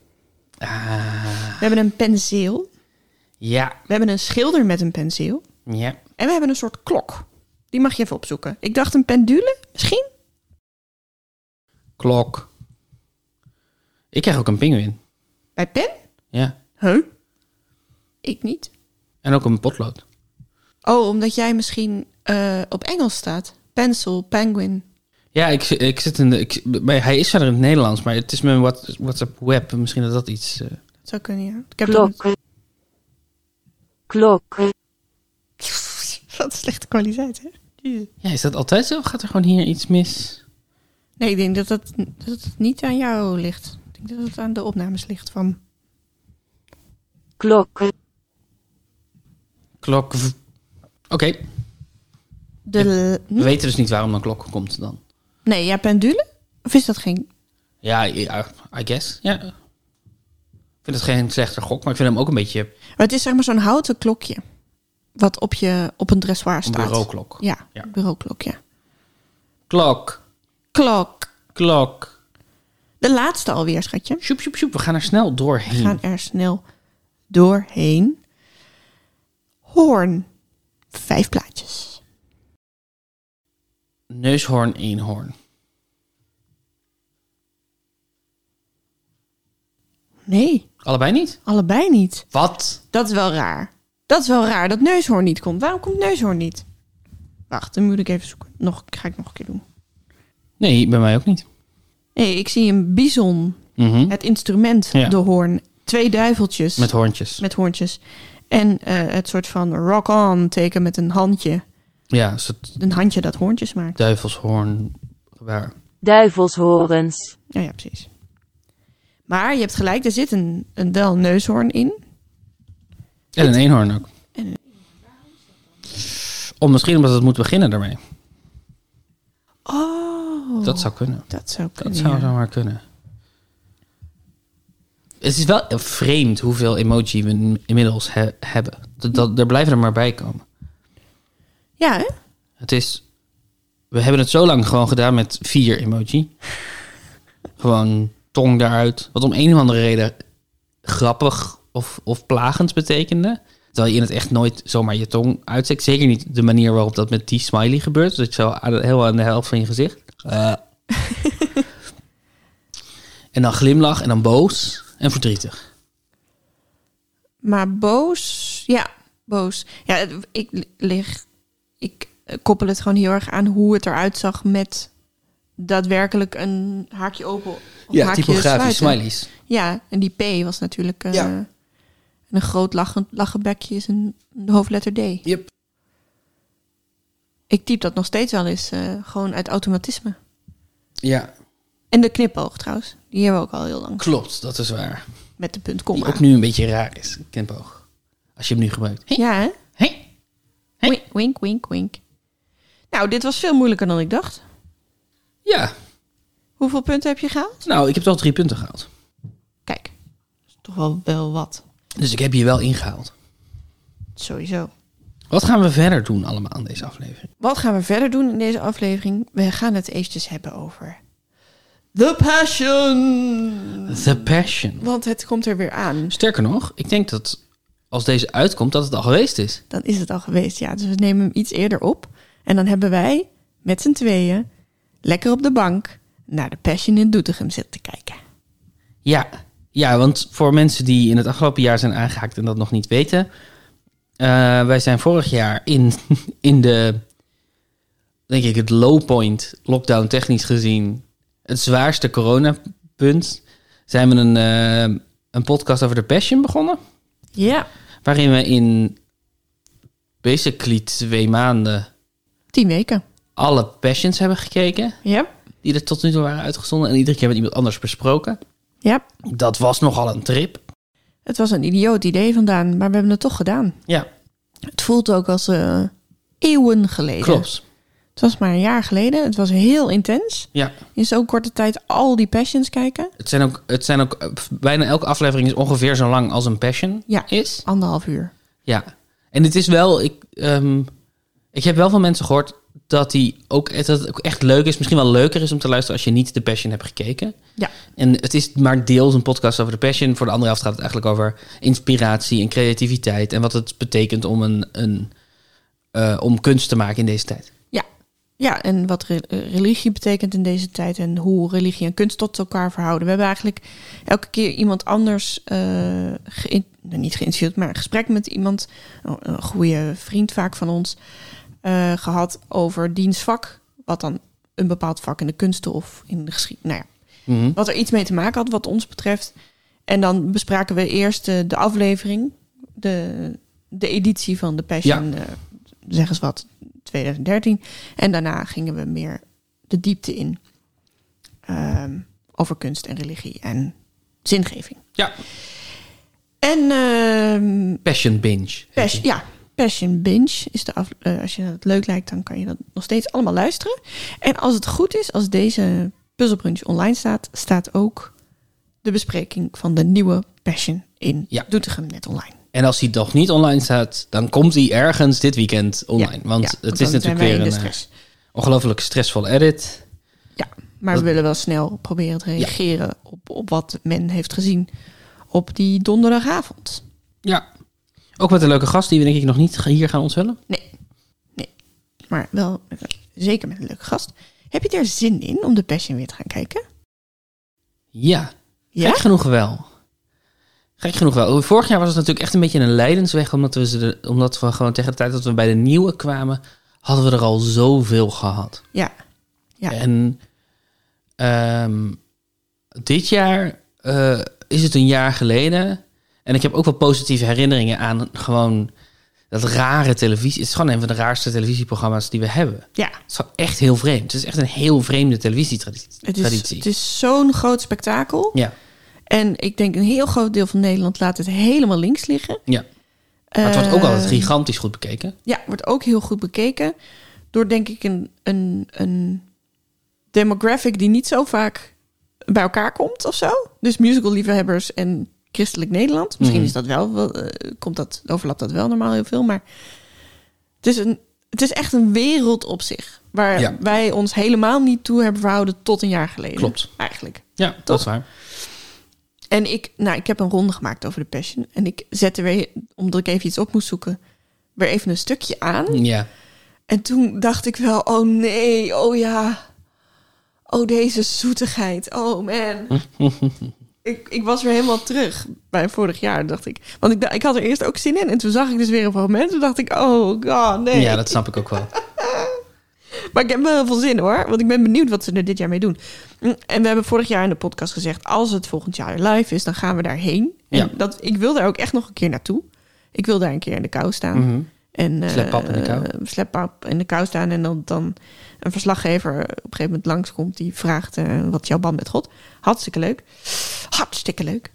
Speaker 1: Ah,
Speaker 2: we hebben een penseel,
Speaker 1: ja.
Speaker 2: we hebben een schilder met een penseel
Speaker 1: Ja.
Speaker 2: en we hebben een soort klok. Die mag je even opzoeken. Ik dacht een pendule, misschien?
Speaker 1: Klok. Ik krijg ook een pinguïn.
Speaker 2: Bij pen?
Speaker 1: Ja.
Speaker 2: Huh? Ik niet.
Speaker 1: En ook een potlood.
Speaker 2: Oh, omdat jij misschien eh, op Engels staat. Pencil, penguin.
Speaker 1: Ja, ik, zi- ik zit in de. Ik, maar hij is verder in het Nederlands, maar het is mijn What- WhatsApp web. Misschien dat dat iets. eh,
Speaker 2: Dat zou kunnen, ja. Ik heb
Speaker 3: klok, klok,
Speaker 2: Wat slechte kwaliteit, hè? Jezus.
Speaker 1: Ja, is dat altijd zo? Of gaat er gewoon hier iets mis?
Speaker 2: Nee, ik denk dat, dat, dat het niet aan jou ligt. Ik denk dat het aan de opnames ligt van...
Speaker 3: klok,
Speaker 1: Klok. v- Oké,
Speaker 2: De... l- hm?
Speaker 1: we weten dus niet waarom een klok komt dan.
Speaker 2: Nee, ja, pendule? Of is dat geen...
Speaker 1: Ja, I, I- I guess. Ja. Ik vind het geen slechter gok, maar ik vind hem ook een beetje
Speaker 2: Maar het is zeg maar zo'n houten klokje. Wat op, je, op een dressoir
Speaker 1: een
Speaker 2: staat.
Speaker 1: bureauklok.
Speaker 2: Ja,
Speaker 1: Ja.
Speaker 2: bureauklok, ja.
Speaker 1: Klok,
Speaker 2: Klok.
Speaker 1: klok.
Speaker 2: De laatste alweer, schatje.
Speaker 1: Sjoep, sjoep, sjoep. We gaan er snel doorheen.
Speaker 2: We gaan er snel doorheen. Hoorn. Vijf plaatjes.
Speaker 1: Neushoorn, eenhoorn.
Speaker 2: Nee,
Speaker 1: Allebei niet?
Speaker 2: allebei niet.
Speaker 1: Wat?
Speaker 2: Dat is wel raar. Dat is wel raar dat neushoorn niet komt. Waarom komt neushoorn niet? Wacht, dan moet ik even zoeken. Nog, ga ik nog een keer doen.
Speaker 1: Nee, bij mij ook niet.
Speaker 2: Nee, ik zie een bison.
Speaker 1: Mhm.
Speaker 2: Het instrument,
Speaker 1: Ja.
Speaker 2: de hoorn. Twee duiveltjes
Speaker 1: Met hoorntjes.
Speaker 2: met hoorntjes. En eh, het soort van rock-on teken met een handje.
Speaker 1: Ja, een soort
Speaker 2: Een handje dat hoorntjes maakt.
Speaker 1: duivelshoorn. Waar?
Speaker 3: duivelshorens,
Speaker 2: Ja, ja, precies. Maar je hebt gelijk, er zit een, een del neushoorn in.
Speaker 1: En een eenhoorn ook.
Speaker 2: En een-
Speaker 1: Of misschien omdat het moet beginnen daarmee.
Speaker 2: Oh,
Speaker 1: Dat zou kunnen.
Speaker 2: dat zou kunnen.
Speaker 1: Dat zou
Speaker 2: ja.
Speaker 1: zomaar kunnen. Het is wel vreemd hoeveel emoji we in- inmiddels he- hebben. Dat, dat, er blijven er maar bij komen.
Speaker 2: Ja, hè?
Speaker 1: Het is... We hebben het zo lang gewoon gedaan met vier emoji. Gewoon tong daaruit. Wat om een of andere reden grappig of, of plagend betekende. Terwijl je in het echt nooit zomaar je tong uitsteekt. Zeker niet de manier waarop dat met die smiley gebeurt. Dat je zo aan, heel aan de helft van je gezicht. Eh. en dan glimlach en dan boos en verdrietig.
Speaker 2: Maar boos, ja, boos. Ja, het- ik lig, ik eh, koppel het gewoon heel erg aan hoe het eruit zag met daadwerkelijk een haakje open. Of haakje
Speaker 1: typografisch
Speaker 2: sluiten.
Speaker 1: smileys.
Speaker 2: Ja, en die P was natuurlijk eh,
Speaker 1: Ja.
Speaker 2: en een groot lachen, lachenbekje is een de hoofdletter D.
Speaker 1: Yep.
Speaker 2: Ik typ dat nog steeds wel eens, eh, gewoon uit automatisme.
Speaker 1: Ja,
Speaker 2: En de knipoog trouwens, die hebben we ook al heel lang.
Speaker 1: klopt. Dat is waar.
Speaker 2: Met de punt
Speaker 1: Die
Speaker 2: komma.
Speaker 1: ook nu een beetje raar is, knipoog. Als je hem nu gebruikt. Hey,
Speaker 2: Ja, hè?
Speaker 1: hey. Hè?
Speaker 2: Wink, wink, wink, wink. Nou, dit was veel moeilijker dan ik dacht.
Speaker 1: Ja,
Speaker 2: Hoeveel punten heb je gehaald?
Speaker 1: nou, ik heb toch drie punten gehaald.
Speaker 2: Kijk, dat is toch wel, wel wat.
Speaker 1: Dus ik heb je wel ingehaald.
Speaker 2: Sowieso.
Speaker 1: Wat gaan we verder doen allemaal in deze aflevering?
Speaker 2: Wat gaan we verder doen in deze aflevering? We gaan het eventjes hebben over The Passion.
Speaker 1: The Passion.
Speaker 2: Want het komt er weer aan. Dus
Speaker 1: Sterker nog, ik denk dat als deze uitkomt, dat het al geweest is.
Speaker 2: Dan is het al geweest, ja. Dus we nemen hem iets eerder op. En dan hebben wij met z'n tweeën lekker op de bank naar The Passion in Doetinchem zitten kijken.
Speaker 1: Ja, ja want voor mensen die in het afgelopen jaar zijn aangehaakt en dat nog niet weten. eh, wij zijn vorig jaar in, in de, denk ik, het low point, lockdown technisch gezien, het zwaarste coronapunt. Zijn we een, eh, een podcast over de Passion begonnen.
Speaker 2: Ja.
Speaker 1: Waarin we in basically twee maanden
Speaker 2: Tien weken.
Speaker 1: alle Passions hebben gekeken.
Speaker 2: Ja.
Speaker 1: Die er tot nu toe waren uitgezonden. En iedere keer met iemand anders besproken.
Speaker 2: Ja.
Speaker 1: Dat was nogal een trip.
Speaker 2: Het was een idioot idee vandaan, maar we hebben het toch gedaan.
Speaker 1: Ja,
Speaker 2: Het voelt ook als eh, eeuwen geleden.
Speaker 1: klopt.
Speaker 2: Het was maar een jaar geleden. Het was heel intens.
Speaker 1: Ja.
Speaker 2: In zo'n korte tijd al die passions kijken.
Speaker 1: Het zijn ook, het zijn ook eh, f- bijna elke aflevering is ongeveer zo lang als een passion
Speaker 2: Ja.
Speaker 1: is.
Speaker 2: Anderhalf uur.
Speaker 1: Ja. En het is wel, ik, ehm, ik heb wel van mensen gehoord dat, die ook, dat het ook echt leuk is. Misschien wel leuker is om te luisteren als je niet de passion hebt gekeken.
Speaker 2: Ja.
Speaker 1: En het is maar deels een podcast over de passion. Voor de andere helft gaat het eigenlijk over inspiratie en creativiteit. En wat het betekent om, een, een, eh, om kunst te maken in deze tijd.
Speaker 2: Ja. Ja, en wat re- eh, religie betekent in deze tijd en hoe religie en kunst tot elkaar verhouden. We hebben eigenlijk elke keer iemand anders, eh, geïn- nou, niet geïnterviewd, maar een gesprek met iemand, een- een goede vriend vaak van ons, eh, gehad over diens vak. Wat dan een bepaald vak in de kunsten of in de geschiedenis. Nou ja,
Speaker 1: Mhm.
Speaker 2: wat er iets mee te maken had wat ons betreft. En dan bespraken we eerst eh, de aflevering, de, de editie van de Passion, eh, zeg eens wat, 2013. En daarna gingen we meer de diepte in ehm, over kunst en religie en zingeving.
Speaker 1: Ja,
Speaker 2: En ehm,
Speaker 1: passion binge. heet
Speaker 2: Pas-
Speaker 1: die.
Speaker 2: ja, Passion Binge is de af, eh, als je dat leuk lijkt, dan kan je dat nog steeds allemaal luisteren. En als het goed is, als deze puzzelbrunch online staat, staat ook de bespreking van de nieuwe Passion in
Speaker 1: Ja.
Speaker 2: Doetinchem net online.
Speaker 1: En als hij nog niet online staat, dan komt hij ergens dit weekend online.
Speaker 2: Ja,
Speaker 1: want
Speaker 2: ja,
Speaker 1: het
Speaker 2: dan
Speaker 1: is
Speaker 2: zijn
Speaker 1: natuurlijk
Speaker 2: wij in
Speaker 1: weer
Speaker 2: de
Speaker 1: een eh,
Speaker 2: stress.
Speaker 1: ongelooflijk stressvolle edit.
Speaker 2: Ja, maar we willen wel snel proberen te reageren op, op wat men heeft gezien op die donderdagavond.
Speaker 1: Ja. Ook met een leuke gast die we denk ik nog niet ga- hier gaan onthullen.
Speaker 2: Nee, nee, maar wel met een- zeker met een leuke gast. Heb je er zin in om de Passion weer te gaan kijken?
Speaker 1: Ja, gek genoeg wel. Gek genoeg wel. Vorig jaar was het natuurlijk echt een beetje een leidensweg. Omdat we, ze de- omdat we gewoon tegen de tijd dat we bij de nieuwe kwamen, hadden we er al zoveel gehad.
Speaker 2: Ja. Ja.
Speaker 1: En ehm, dit jaar eh, is het een jaar geleden. En ik heb ook wel positieve herinneringen aan gewoon dat rare televisie. Het is gewoon een van de raarste televisieprogramma's die we hebben. Het
Speaker 2: Ja,
Speaker 1: is gewoon echt heel vreemd. Het is echt een heel vreemde televisietraditie.
Speaker 2: Het is,
Speaker 1: traditie.
Speaker 2: het is zo'n groot spektakel.
Speaker 1: Ja,
Speaker 2: En ik denk een heel groot deel van Nederland laat het helemaal links liggen.
Speaker 1: ja. Maar het wordt ook
Speaker 2: Eh,
Speaker 1: altijd gigantisch goed bekeken.
Speaker 2: Ja, wordt ook heel goed bekeken. Door denk ik een, een, een demographic die niet zo vaak bij elkaar komt of zo. Dus musical liefhebbers en christelijk Nederland. Misschien
Speaker 1: Mhm.
Speaker 2: is dat wel, wel, eh, komt dat, overlapt dat wel normaal heel veel. Maar het is, een, het is echt een wereld op zich. Waar
Speaker 1: Ja.
Speaker 2: wij ons helemaal niet toe hebben verhouden tot een jaar geleden.
Speaker 1: Klopt.
Speaker 2: Eigenlijk.
Speaker 1: Ja, dat is waar.
Speaker 2: En ik, nou, ik heb een ronde gemaakt over de Passion. En ik zette weer, omdat ik even iets op moest zoeken, weer even een stukje aan.
Speaker 1: Ja.
Speaker 2: En toen dacht ik wel, oh nee, oh ja. Oh, deze zoetigheid. Oh man. ik, ik was weer helemaal terug bij vorig jaar, dacht ik. Want ik, da- ik had er eerst ook zin in. En toen zag ik dus weer een fragment. Toen dacht ik, oh god, nee.
Speaker 1: ja, dat snap ik ook wel.
Speaker 2: Maar ik heb wel heel veel zin hoor. Want ik ben benieuwd wat ze er dit jaar mee doen. Mm, En we hebben vorig jaar in de podcast gezegd... als het volgend jaar live is, dan gaan we daarheen. En
Speaker 1: Ja.
Speaker 2: dat, ik wil daar ook echt nog een keer naartoe. Ik wil daar een keer in de kou staan.
Speaker 1: Mhm.
Speaker 2: En, eh,
Speaker 1: Sleppap in de kou.
Speaker 2: eh, sleppap in de kou staan. En dan, dan een verslaggever op een gegeven moment langskomt... die vraagt eh, wat is jouw band met God. Hartstikke leuk. Hartstikke leuk.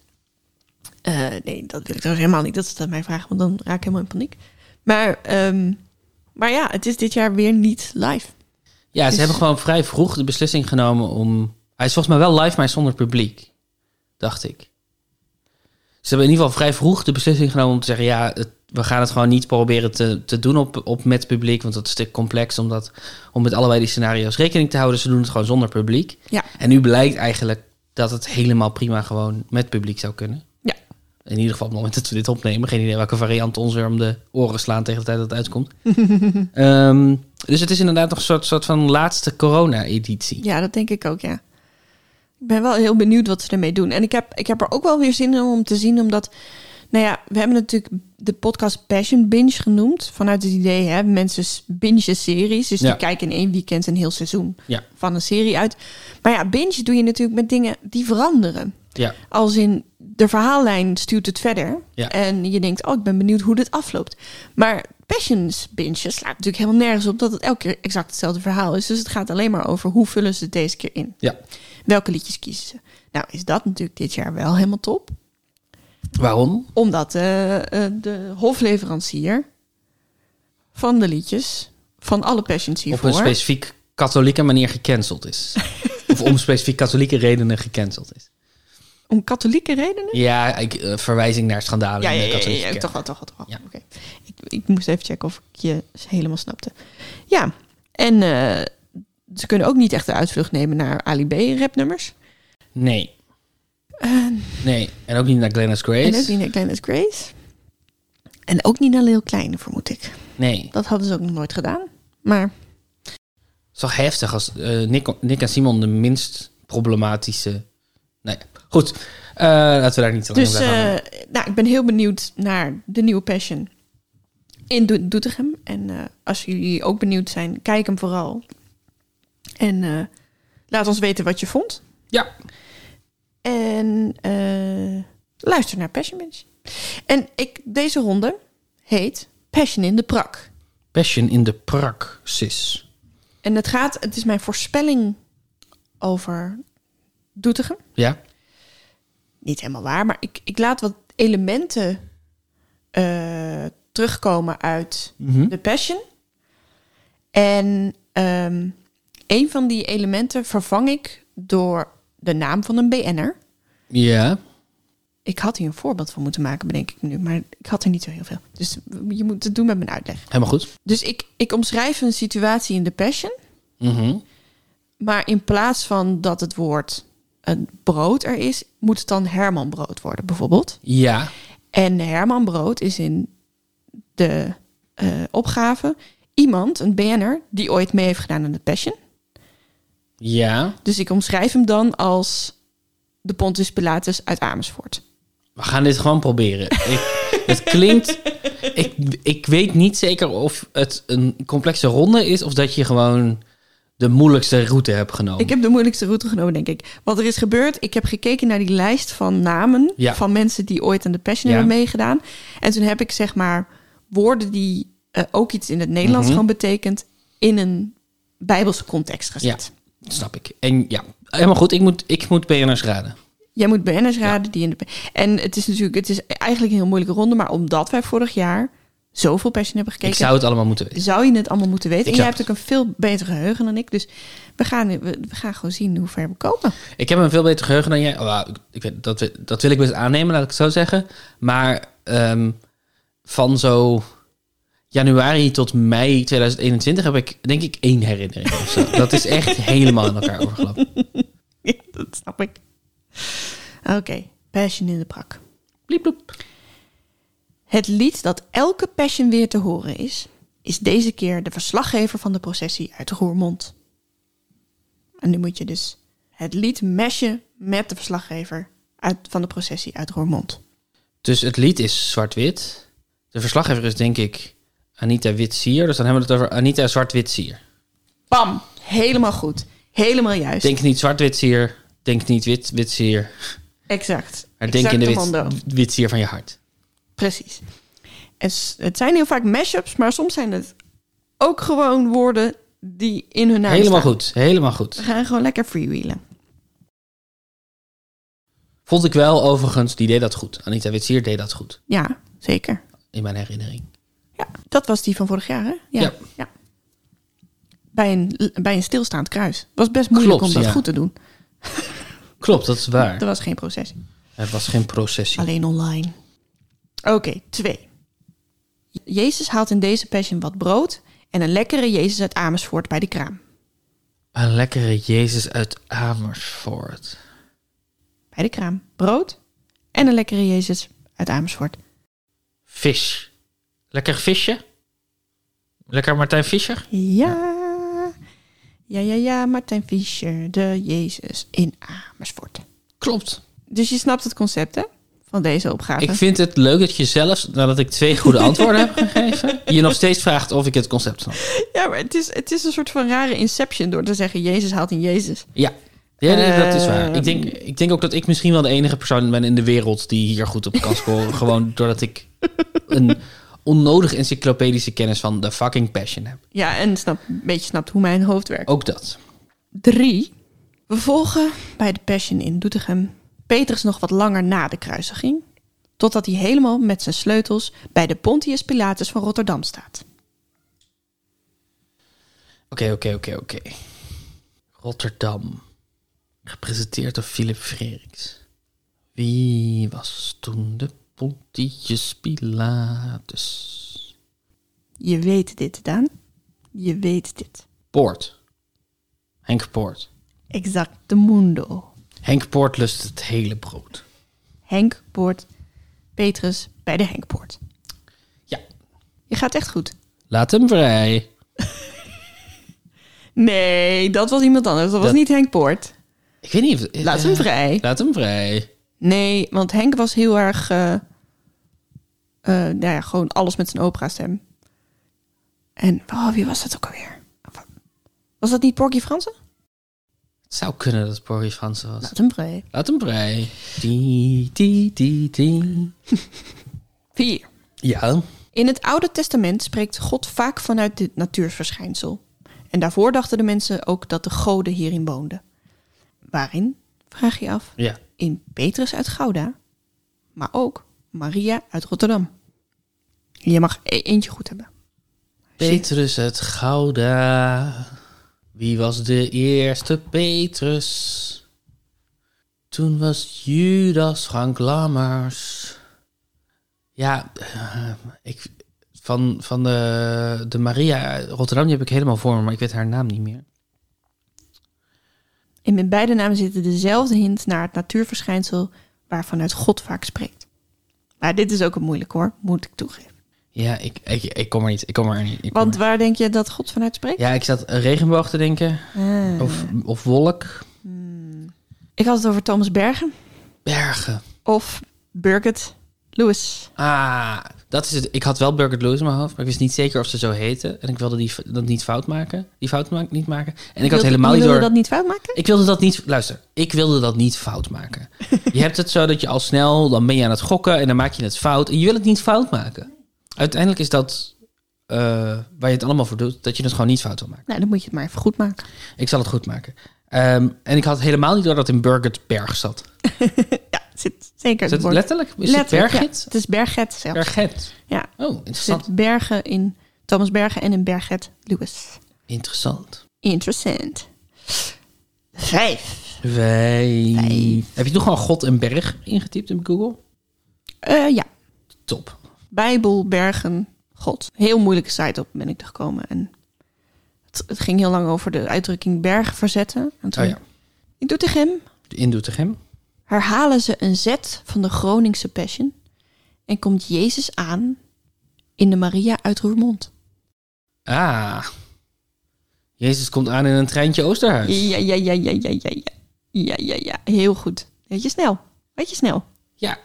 Speaker 2: Eh, nee, dat wil ik trouwens helemaal niet. Dat ze dat mij vragen, want dan raak ik helemaal in paniek. Maar, ehm, maar ja, het is dit jaar weer niet live.
Speaker 1: Ja, ze
Speaker 2: Dus-
Speaker 1: hebben gewoon vrij vroeg de beslissing genomen om... Hij is volgens mij wel live, maar zonder publiek. Dacht ik. Ze hebben in ieder geval vrij vroeg de beslissing genomen om te zeggen... Ja, het we gaan het gewoon niet proberen te, te doen op, op met publiek. Want dat is te complex om, dat, om met allebei die scenario's rekening te houden. Ze doen het gewoon zonder publiek.
Speaker 2: Ja.
Speaker 1: En nu blijkt eigenlijk dat het helemaal prima gewoon met publiek zou kunnen.
Speaker 2: Ja.
Speaker 1: In ieder geval op het moment dat we dit opnemen. Geen idee welke variant ons weer om de oren slaan tegen de tijd dat het uitkomt. Ehm, dus het is inderdaad nog een soort, soort van laatste corona-editie.
Speaker 2: Ja, dat denk ik ook, ja. Ik ben wel heel benieuwd wat ze ermee doen. En ik heb, ik heb er ook wel weer zin in om te zien, omdat... Nou ja, we hebben natuurlijk de podcast Passion Binge genoemd. Vanuit het idee, hè, mensen s- bingen series. Dus
Speaker 1: Ja.
Speaker 2: die kijken in één weekend een heel seizoen
Speaker 1: Ja.
Speaker 2: van een serie uit. Maar ja, binge doe je natuurlijk met dingen die veranderen.
Speaker 1: Ja.
Speaker 2: Als in, de verhaallijn stuurt het verder.
Speaker 1: Ja.
Speaker 2: En je denkt, oh, ik ben benieuwd hoe dit afloopt. Maar Passions Binge slaat natuurlijk helemaal nergens op... dat het elke keer exact hetzelfde verhaal is. Dus het gaat alleen maar over hoe vullen ze het deze keer in.
Speaker 1: ja.
Speaker 2: Welke liedjes kiezen ze? Nou, is dat natuurlijk dit jaar wel helemaal top.
Speaker 1: Waarom?
Speaker 2: Omdat eh, eh, de hofleverancier van de liedjes... van alle Passions
Speaker 1: Op
Speaker 2: hiervoor...
Speaker 1: een specifiek katholieke manier gecanceld is. of om specifiek katholieke redenen gecanceld is.
Speaker 2: om katholieke redenen...
Speaker 1: Ja, ik, eh, verwijzing naar schandalen
Speaker 2: Ja,
Speaker 1: in
Speaker 2: ja,
Speaker 1: de
Speaker 2: ja, ja,
Speaker 1: katholieke
Speaker 2: ja,
Speaker 1: kerk.
Speaker 2: toch wel, toch wel. Toch wel.
Speaker 1: Ja.
Speaker 2: Oké. Ik, ik moest even checken of ik je helemaal snapte. Ja, en eh, ze kunnen ook niet echt de uitvlucht nemen naar Ali B rapnummers.
Speaker 1: Nee,
Speaker 2: Eh,
Speaker 1: nee. En ook niet naar Glennis Grace.
Speaker 2: en ook niet naar Glennis Grace. En ook niet naar Lil Kleine, vermoed ik.
Speaker 1: Nee.
Speaker 2: Dat hadden ze ook nog nooit gedaan. Maar
Speaker 1: Het is toch heftig als eh, Nick, Nick en Simon de minst problematische... Nee, goed. Eh, laten we daar niet te lang
Speaker 2: dus
Speaker 1: over gaan.
Speaker 2: eh, nou, ik ben heel benieuwd naar de nieuwe Passion in Do- Doetinchem. En eh, als jullie ook benieuwd zijn, kijk hem vooral. En eh, laat ons weten wat je vond.
Speaker 1: Ja.
Speaker 2: En eh, luister naar Passion Bench. En ik, deze ronde heet Passion in de Prak.
Speaker 1: Passion in de praxis.
Speaker 2: En het gaat, het is mijn voorspelling over Doetinchem.
Speaker 1: Ja?
Speaker 2: niet helemaal waar, maar ik, ik laat wat elementen eh, terugkomen uit
Speaker 1: Mhm.
Speaker 2: The Passion. En ehm, een van die elementen vervang ik door de naam van een BN'er.
Speaker 1: Ja.
Speaker 2: Ik had hier een voorbeeld van moeten maken, bedenk ik nu, maar ik had er niet zo heel veel. Dus je moet het doen met mijn uitleg.
Speaker 1: Helemaal goed.
Speaker 2: Dus ik, ik omschrijf een situatie in The Passion.
Speaker 1: Mhm.
Speaker 2: Maar in plaats van dat het woord een brood er is, moet het dan Herman brood worden, bijvoorbeeld.
Speaker 1: Ja.
Speaker 2: En Herman Brood is in de eh, opgave iemand, een BN'er, die ooit mee heeft gedaan aan de Passion.
Speaker 1: Ja.
Speaker 2: Dus ik omschrijf hem dan als de Pontus Pilatus uit Amersfoort.
Speaker 1: We gaan dit gewoon proberen. Ik, het klinkt. Ik, ik weet niet zeker of het een complexe ronde is of dat je gewoon de moeilijkste route hebt genomen.
Speaker 2: Ik heb de moeilijkste route genomen, denk ik. Wat er is gebeurd, ik heb gekeken naar die lijst van namen
Speaker 1: Ja.
Speaker 2: van mensen die ooit aan de Passion
Speaker 1: Ja.
Speaker 2: hebben meegedaan. En toen heb ik zeg maar woorden die eh, ook iets in het Nederlands
Speaker 1: Mhm.
Speaker 2: gewoon betekent, in een Bijbelse context gezet.
Speaker 1: Dat Snap ik. En ja, helemaal goed. Ik moet, ik moet BN'ers raden.
Speaker 2: Jij moet BN'ers raden die in de... En het is natuurlijk, het is eigenlijk een heel moeilijke ronde, maar omdat wij vorig jaar zoveel Passion hebben
Speaker 1: Ik
Speaker 2: gekeken,
Speaker 1: zou het allemaal moeten weten.
Speaker 2: zou je het allemaal moeten weten.
Speaker 1: Ik
Speaker 2: en jij
Speaker 1: zou
Speaker 2: hebt ook een veel beter geheugen dan ik, dus we gaan, we, we gaan gewoon zien hoe ver we komen.
Speaker 1: Ik heb een veel beter geheugen dan jij. Oh, wauw, ik- ik, weet- dat, wi- dat wil ik best aannemen, laat ik het zo zeggen. Maar ehm, van zo januari tot mei 2021 heb ik denk ik één herinnering of zo. Dat is echt helemaal in elkaar overgelopen.
Speaker 2: Ja, dat snap ik. Oké, Passion in de Prak.
Speaker 1: Bliep, bloep.
Speaker 2: Het lied dat elke Passion weer te horen is, is deze keer de verslaggever van de processie uit Roermond. En nu moet je dus het lied meshen met de verslaggever uit, van de processie uit Roermond.
Speaker 1: Dus het lied is zwart-wit. De verslaggever is denk ik Anita Witsier. Dus dan hebben we het over Anita Zwart-Witsier.
Speaker 2: Bam! Helemaal goed. Helemaal juist.
Speaker 1: Denk niet zwart-witsier. Denk niet wit-witsier.
Speaker 2: exact.
Speaker 1: Maar denk
Speaker 2: Exact
Speaker 1: in de
Speaker 2: commando.
Speaker 1: wit, witsier van je hart.
Speaker 2: Precies. En s- het zijn heel vaak mashups, maar soms zijn het ook gewoon woorden die in hun naam
Speaker 1: Helemaal
Speaker 2: staan.
Speaker 1: goed. Helemaal
Speaker 2: We
Speaker 1: goed.
Speaker 2: gaan gewoon lekker freewheelen.
Speaker 1: Vond ik wel overigens, die deed dat goed. Anita Witsier deed dat goed.
Speaker 2: Ja, zeker.
Speaker 1: In mijn herinnering.
Speaker 2: Ja, dat was die van vorig jaar, hè?
Speaker 1: Ja.
Speaker 2: Bij, een, bij een stilstaand kruis. Was best moeilijk
Speaker 1: Klopt,
Speaker 2: om dat
Speaker 1: ja.
Speaker 2: goed te doen.
Speaker 1: Klopt, dat is waar.
Speaker 2: Er was geen processie.
Speaker 1: Er was geen processie.
Speaker 2: Alleen online. Oké, twee. Jezus haalt in deze passion wat brood en een lekkere Jezus uit Amersfoort bij de kraam.
Speaker 1: Een lekkere Jezus uit Amersfoort.
Speaker 2: Bij de kraam. Brood en een lekkere Jezus uit Amersfoort.
Speaker 1: Vis. Lekker visje? Lekker Martijn Visser?
Speaker 2: Ja. Ja, ja, ja, Martijn Fischer, de Jezus in Amersfoort.
Speaker 1: Klopt.
Speaker 2: Dus je snapt het concept, hè? Van deze opgave.
Speaker 1: Ik vind het leuk dat je zelfs, nadat ik twee goede antwoorden heb gegeven, je nog steeds vraagt of ik het concept snap.
Speaker 2: Ja, maar het is, het is een soort van rare inception door te zeggen... Jezus haalt in Jezus.
Speaker 1: Ja. Ja, nee, dat is waar. Ik denk, ik denk ook dat ik misschien wel de enige persoon ben in de wereld die hier goed op kan scoren. gewoon doordat ik een onnodig encyclopedische kennis van de fucking passion heb.
Speaker 2: Ja, en snap, een beetje snapt hoe mijn hoofd werkt.
Speaker 1: Ook dat.
Speaker 2: Drie. We volgen bij de Passion in Doetinchem Petrus nog wat langer na de kruisiging. Totdat hij helemaal met zijn sleutels bij de Pontius Pilatus van Rotterdam staat.
Speaker 1: Oké, oké, oké, oké. Rotterdam. Gepresenteerd door Philip Freriks. Wie was toen de Pontius Pilatus?
Speaker 2: Je weet dit, Daan. Je weet dit.
Speaker 1: Poort. Henk Poort.
Speaker 2: Exact de mundo.
Speaker 1: Henk Poort lust het hele brood.
Speaker 2: Henkpoort. Petrus bij de Henkpoort.
Speaker 1: Ja.
Speaker 2: Je gaat echt goed.
Speaker 1: Laat hem vrij.
Speaker 2: Nee, dat was iemand anders. Dat was
Speaker 1: Dat-
Speaker 2: niet Henkpoort.
Speaker 1: Ik weet niet of...
Speaker 2: Laat hem
Speaker 1: eh,
Speaker 2: vrij.
Speaker 1: Laat hem vrij.
Speaker 2: Nee, want Henk was heel erg... eh, eh, nou ja, gewoon alles met zijn opera-stem. En oh, wie was dat ook alweer? Was dat niet Porky Fransen?
Speaker 1: Het zou kunnen dat het Porrie Fransen was.
Speaker 2: Laat hem vrij.
Speaker 1: Laat hem vrij. Die, die, die, die.
Speaker 2: Vier.
Speaker 1: Ja.
Speaker 2: In het Oude Testament spreekt God vaak vanuit dit natuurverschijnsel. En daarvoor dachten de mensen ook dat de goden hierin woonden. Waarin, vraag je af,
Speaker 1: Ja.
Speaker 2: in Petrus uit Gouda, maar ook Maria uit Rotterdam. Je mag e- eentje goed hebben.
Speaker 1: Petrus het Gouda. Wie was de eerste Petrus? Toen was Judas Frank Lammers. Ja, eh, ik, van, van de, de Maria uit Rotterdam die heb ik helemaal voor me, maar ik weet haar naam niet meer.
Speaker 2: En in beide namen zitten dezelfde hint naar het natuurverschijnsel waarvanuit God vaak spreekt. Maar dit is ook een moeilijk hoor, moet ik toegeven.
Speaker 1: Ja, ik, ik, ik kom er niet. Ik kom er niet. ik kom
Speaker 2: Want
Speaker 1: er-
Speaker 2: waar denk je dat God vanuit spreekt?
Speaker 1: Ja, ik zat een regenboog te denken.
Speaker 2: Ah.
Speaker 1: Of, of wolk.
Speaker 2: Ik had het over Thomas Bergen
Speaker 1: Bergen.
Speaker 2: of Birgit Lewis.
Speaker 1: Ah, dat is het. Ik had wel Burger Lewis in mijn hoofd, maar ik wist niet zeker of ze zo heette. En ik wilde die, dat niet fout maken. Die fout ma- niet maken. En ik had
Speaker 2: Wilde-
Speaker 1: helemaal
Speaker 2: je
Speaker 1: niet door...
Speaker 2: wilde dat niet fout maken?
Speaker 1: Ik wilde dat niet... Luister, ik wilde dat niet fout maken. je hebt het zo dat je al snel... Dan ben je aan het gokken en dan maak je het fout. En je wil het niet fout maken. Uiteindelijk is dat eh, waar je het allemaal voor doet. Dat je het gewoon niet fout wil maken.
Speaker 2: Nou, dan moet je het maar even goed maken.
Speaker 1: Ik zal het goed maken. Ehm, en ik had helemaal niet door dat in Burgert Berg zat.
Speaker 2: Ja, het zit zeker.
Speaker 1: Is
Speaker 2: het
Speaker 1: het
Speaker 2: woord.
Speaker 1: letterlijk? Is
Speaker 2: Letterlijk,
Speaker 1: het
Speaker 2: ja.
Speaker 1: Bergit?
Speaker 2: Het is Berget zelf.
Speaker 1: Berget.
Speaker 2: Ja,
Speaker 1: Oh,
Speaker 2: er
Speaker 1: interessant.
Speaker 2: zit Bergen in Thomas Bergen en in Berget Lewis.
Speaker 1: Interessant.
Speaker 2: Interessant. Vijf.
Speaker 1: Wij. Heb je toch gewoon God en Berg ingetypt in Google?
Speaker 2: Eh, ja,
Speaker 1: Top.
Speaker 2: Bijbel, Bergen, God. Heel moeilijke site op ben ik er gekomen. En het, het ging heel lang over de uitdrukking bergen verzetten. En toen
Speaker 1: Oh ja.
Speaker 2: in Doetinchem
Speaker 1: In Doetinchem.
Speaker 2: herhalen ze een zet van de Groningse Passion. En komt Jezus aan in de Maria uit Roermond.
Speaker 1: Ah. Jezus komt aan in een treintje Oosterhuis.
Speaker 2: Ja, ja, ja, ja, ja, ja, ja. Ja, ja, ja. Heel goed. Weet je snel. Weet je snel.
Speaker 1: Ja.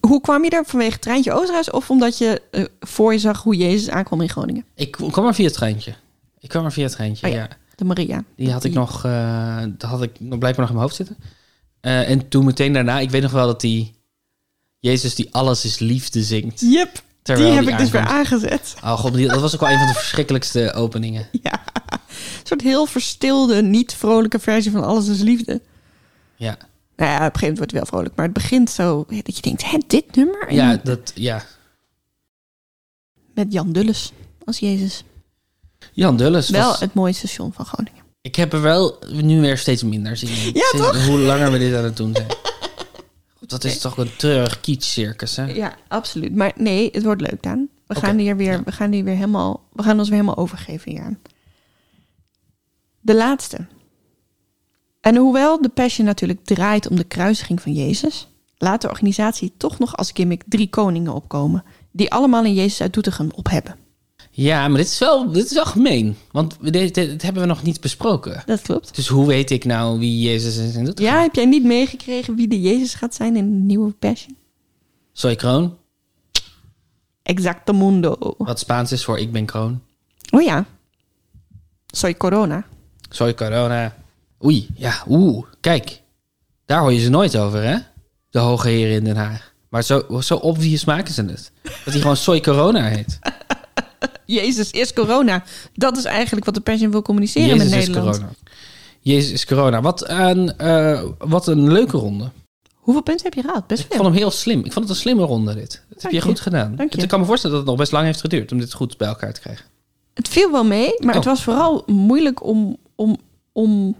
Speaker 2: Hoe kwam je daar vanwege het treintje Oosterhuis of omdat je eh, voor je zag hoe Jezus aankwam in Groningen?
Speaker 1: Ik kwam er via het treintje. Ik kwam er via het treintje,
Speaker 2: Oh ja.
Speaker 1: ja.
Speaker 2: De Maria.
Speaker 1: Die had ik nog, eh, dat had ik nog blijkbaar nog in mijn hoofd zitten. Eh, en toen meteen daarna, ik weet nog wel dat die Jezus die alles is liefde zingt.
Speaker 2: Yep.
Speaker 1: Terwijl
Speaker 2: die heb
Speaker 1: die
Speaker 2: ik dus weer
Speaker 1: aankomt.
Speaker 2: aangezet.
Speaker 1: Oh god, die- dat was ook wel een van de verschrikkelijkste openingen.
Speaker 2: Ja. Een soort heel verstilde, niet vrolijke versie van Alles is Liefde.
Speaker 1: Ja,
Speaker 2: Nou ja, op een gegeven moment wordt het wel vrolijk, maar het begint zo ja, dat je denkt, hè, dit nummer? En
Speaker 1: ja,
Speaker 2: dan
Speaker 1: dat, ja.
Speaker 2: Met Jan Dulles als Jezus.
Speaker 1: Jan Dulles
Speaker 2: wel
Speaker 1: was-
Speaker 2: het mooie station van Groningen.
Speaker 1: Ik heb er wel nu weer steeds minder zin in.
Speaker 2: Ja,
Speaker 1: Sinds
Speaker 2: toch?
Speaker 1: Hoe langer we dit aan het doen zijn. God, dat is toch een treurig kietscircus, hè?
Speaker 2: Ja, absoluut. Maar nee, het wordt leuk, Daan. We
Speaker 1: Oké,
Speaker 2: gaan hier weer,
Speaker 1: ja.
Speaker 2: we gaan hier weer helemaal, we gaan ons weer helemaal overgeven hieraan. De laatste. En hoewel de Passion natuurlijk draait om de kruisiging van Jezus, laat de organisatie toch nog als gimmick drie koningen opkomen, die allemaal een Jezus uit Doetinchem op hebben.
Speaker 1: Ja, maar dit is wel, dit is wel gemeen. Want we- dit, dit- dit hebben we nog niet besproken.
Speaker 2: Dat klopt.
Speaker 1: Dus hoe weet ik nou wie Jezus is in Doetinchem?
Speaker 2: Ja, heb jij niet meegekregen wie de Jezus gaat zijn in de nieuwe Passion?
Speaker 1: Soy Kroon,
Speaker 2: Exacto mundo.
Speaker 1: wat Spaans is voor ik ben Kroon.
Speaker 2: Oh ja. Soy corona.
Speaker 1: Soy Corona. Oei, ja, oeh. Kijk, daar hoor je ze nooit over, hè? De hoge heren in Den Haag. Maar zo, zo obvious maken ze het. Dat hij gewoon Soy Corona heet.
Speaker 2: Jezus is corona. Dat is eigenlijk wat de Passion wil communiceren
Speaker 1: Jezus
Speaker 2: met
Speaker 1: is
Speaker 2: Nederland.
Speaker 1: corona. Jezus is corona. Wat een, eh, wat een leuke ronde.
Speaker 2: Hoeveel punten heb je gehaald? Best
Speaker 1: Ik
Speaker 2: veel.
Speaker 1: vond hem heel slim. Ik vond het een slimme ronde dit. Dat heb
Speaker 2: Dank
Speaker 1: je
Speaker 2: je.
Speaker 1: goed gedaan.
Speaker 2: Dank je.
Speaker 1: Ik kan me voorstellen dat het nog best lang heeft geduurd om dit goed bij elkaar te krijgen.
Speaker 2: Het viel wel mee, maar het
Speaker 1: Oh.
Speaker 2: was vooral moeilijk om, om, om...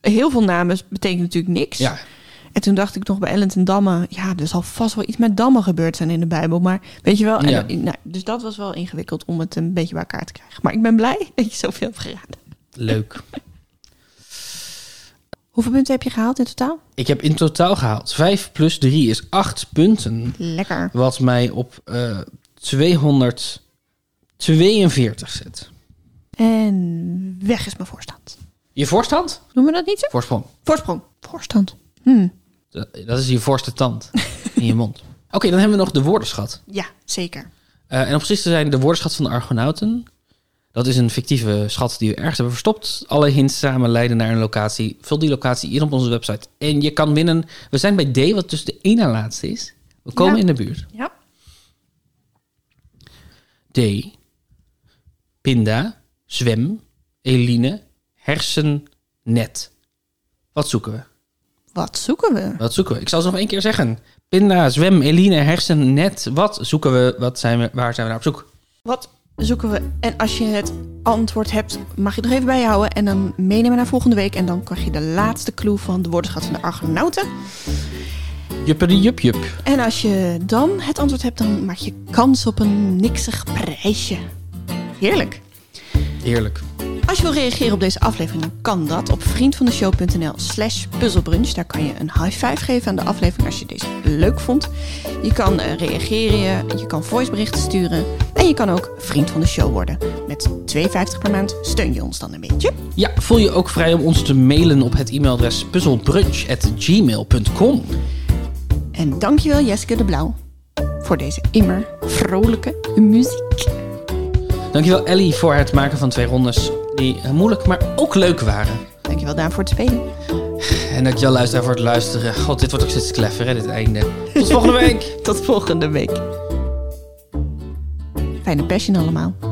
Speaker 2: Heel veel namen betekent natuurlijk niks.
Speaker 1: Ja,
Speaker 2: En toen dacht ik nog bij Ellen ten Damme... Ja, er zal vast wel iets met dammen gebeurd zijn in de Bijbel. Maar weet je wel... en-
Speaker 1: Ja.
Speaker 2: nou, dus dat was wel ingewikkeld om het een beetje bij elkaar te krijgen. Maar ik ben blij dat je zoveel hebt geraden.
Speaker 1: leuk.
Speaker 2: Hoeveel punten heb je gehaald in totaal?
Speaker 1: Ik heb in totaal gehaald 5 plus 3 is 8 punten.
Speaker 2: Lekker.
Speaker 1: Wat mij op eh 242 zet.
Speaker 2: En weg is mijn voorstand.
Speaker 1: Je voorstand?
Speaker 2: Noemen we dat niet zo?
Speaker 1: Voorsprong.
Speaker 2: Voorsprong. Voorstand. Hm.
Speaker 1: Dat dat is je voorste tand in je mond. Oké, dan hebben we nog de woordenschat.
Speaker 2: Ja, zeker.
Speaker 1: Eh, en om precies te zijn, de woordenschat van de Argonauten. Dat is een fictieve schat die we ergens hebben verstopt. Alle hints samen leiden naar een locatie. Vul die locatie hier op onze website. En je kan winnen. We zijn bij D, wat dus de één na laatste is. We komen
Speaker 2: Ja.
Speaker 1: in de buurt.
Speaker 2: Ja.
Speaker 1: D. Pinda. Zwem. Eline. Hersen. Net. Wat zoeken we?
Speaker 2: Wat zoeken we?
Speaker 1: Wat zoeken we? Ik zal ze nog één keer zeggen. Pinda, zwem, Eline, hersen, net. Wat zoeken we? Wat zijn we? Waar zijn we naar op zoek?
Speaker 2: Wat zoeken we? En als je het antwoord hebt, mag je het nog even bijhouden. En dan meenemen naar volgende week. En dan krijg je de laatste clue van de woordenschat van de Argonauten.
Speaker 1: Jupperie, jup, jup.
Speaker 2: En als je dan het antwoord hebt, dan maak je kans op een niksig prijsje. Heerlijk.
Speaker 1: Heerlijk.
Speaker 2: Als je wil reageren op deze aflevering, dan kan dat op vriendvandeshow.nl slash puzzelbrunch. Daar kan je een high five geven aan de aflevering als je deze leuk vond. Je kan eh, reageren, je kan voiceberichten sturen en je kan ook vriend van de show worden. Met 2,50 per maand steun je ons dan een beetje.
Speaker 1: Ja, voel je ook vrij om ons te mailen op het e-mailadres puzzelbrunch.gmail.com.
Speaker 2: En dankjewel Jessica de Blauw voor deze immer vrolijke muziek.
Speaker 1: Dankjewel Ellie voor het maken van twee rondes die eh, moeilijk, maar ook leuk waren.
Speaker 2: Dankjewel Daan voor het spelen.
Speaker 1: En dankjewel luisteraar voor het luisteren. God, dit wordt ook steeds clever, hè, dit einde. Tot volgende week!
Speaker 2: Tot volgende week. Fijne passion allemaal.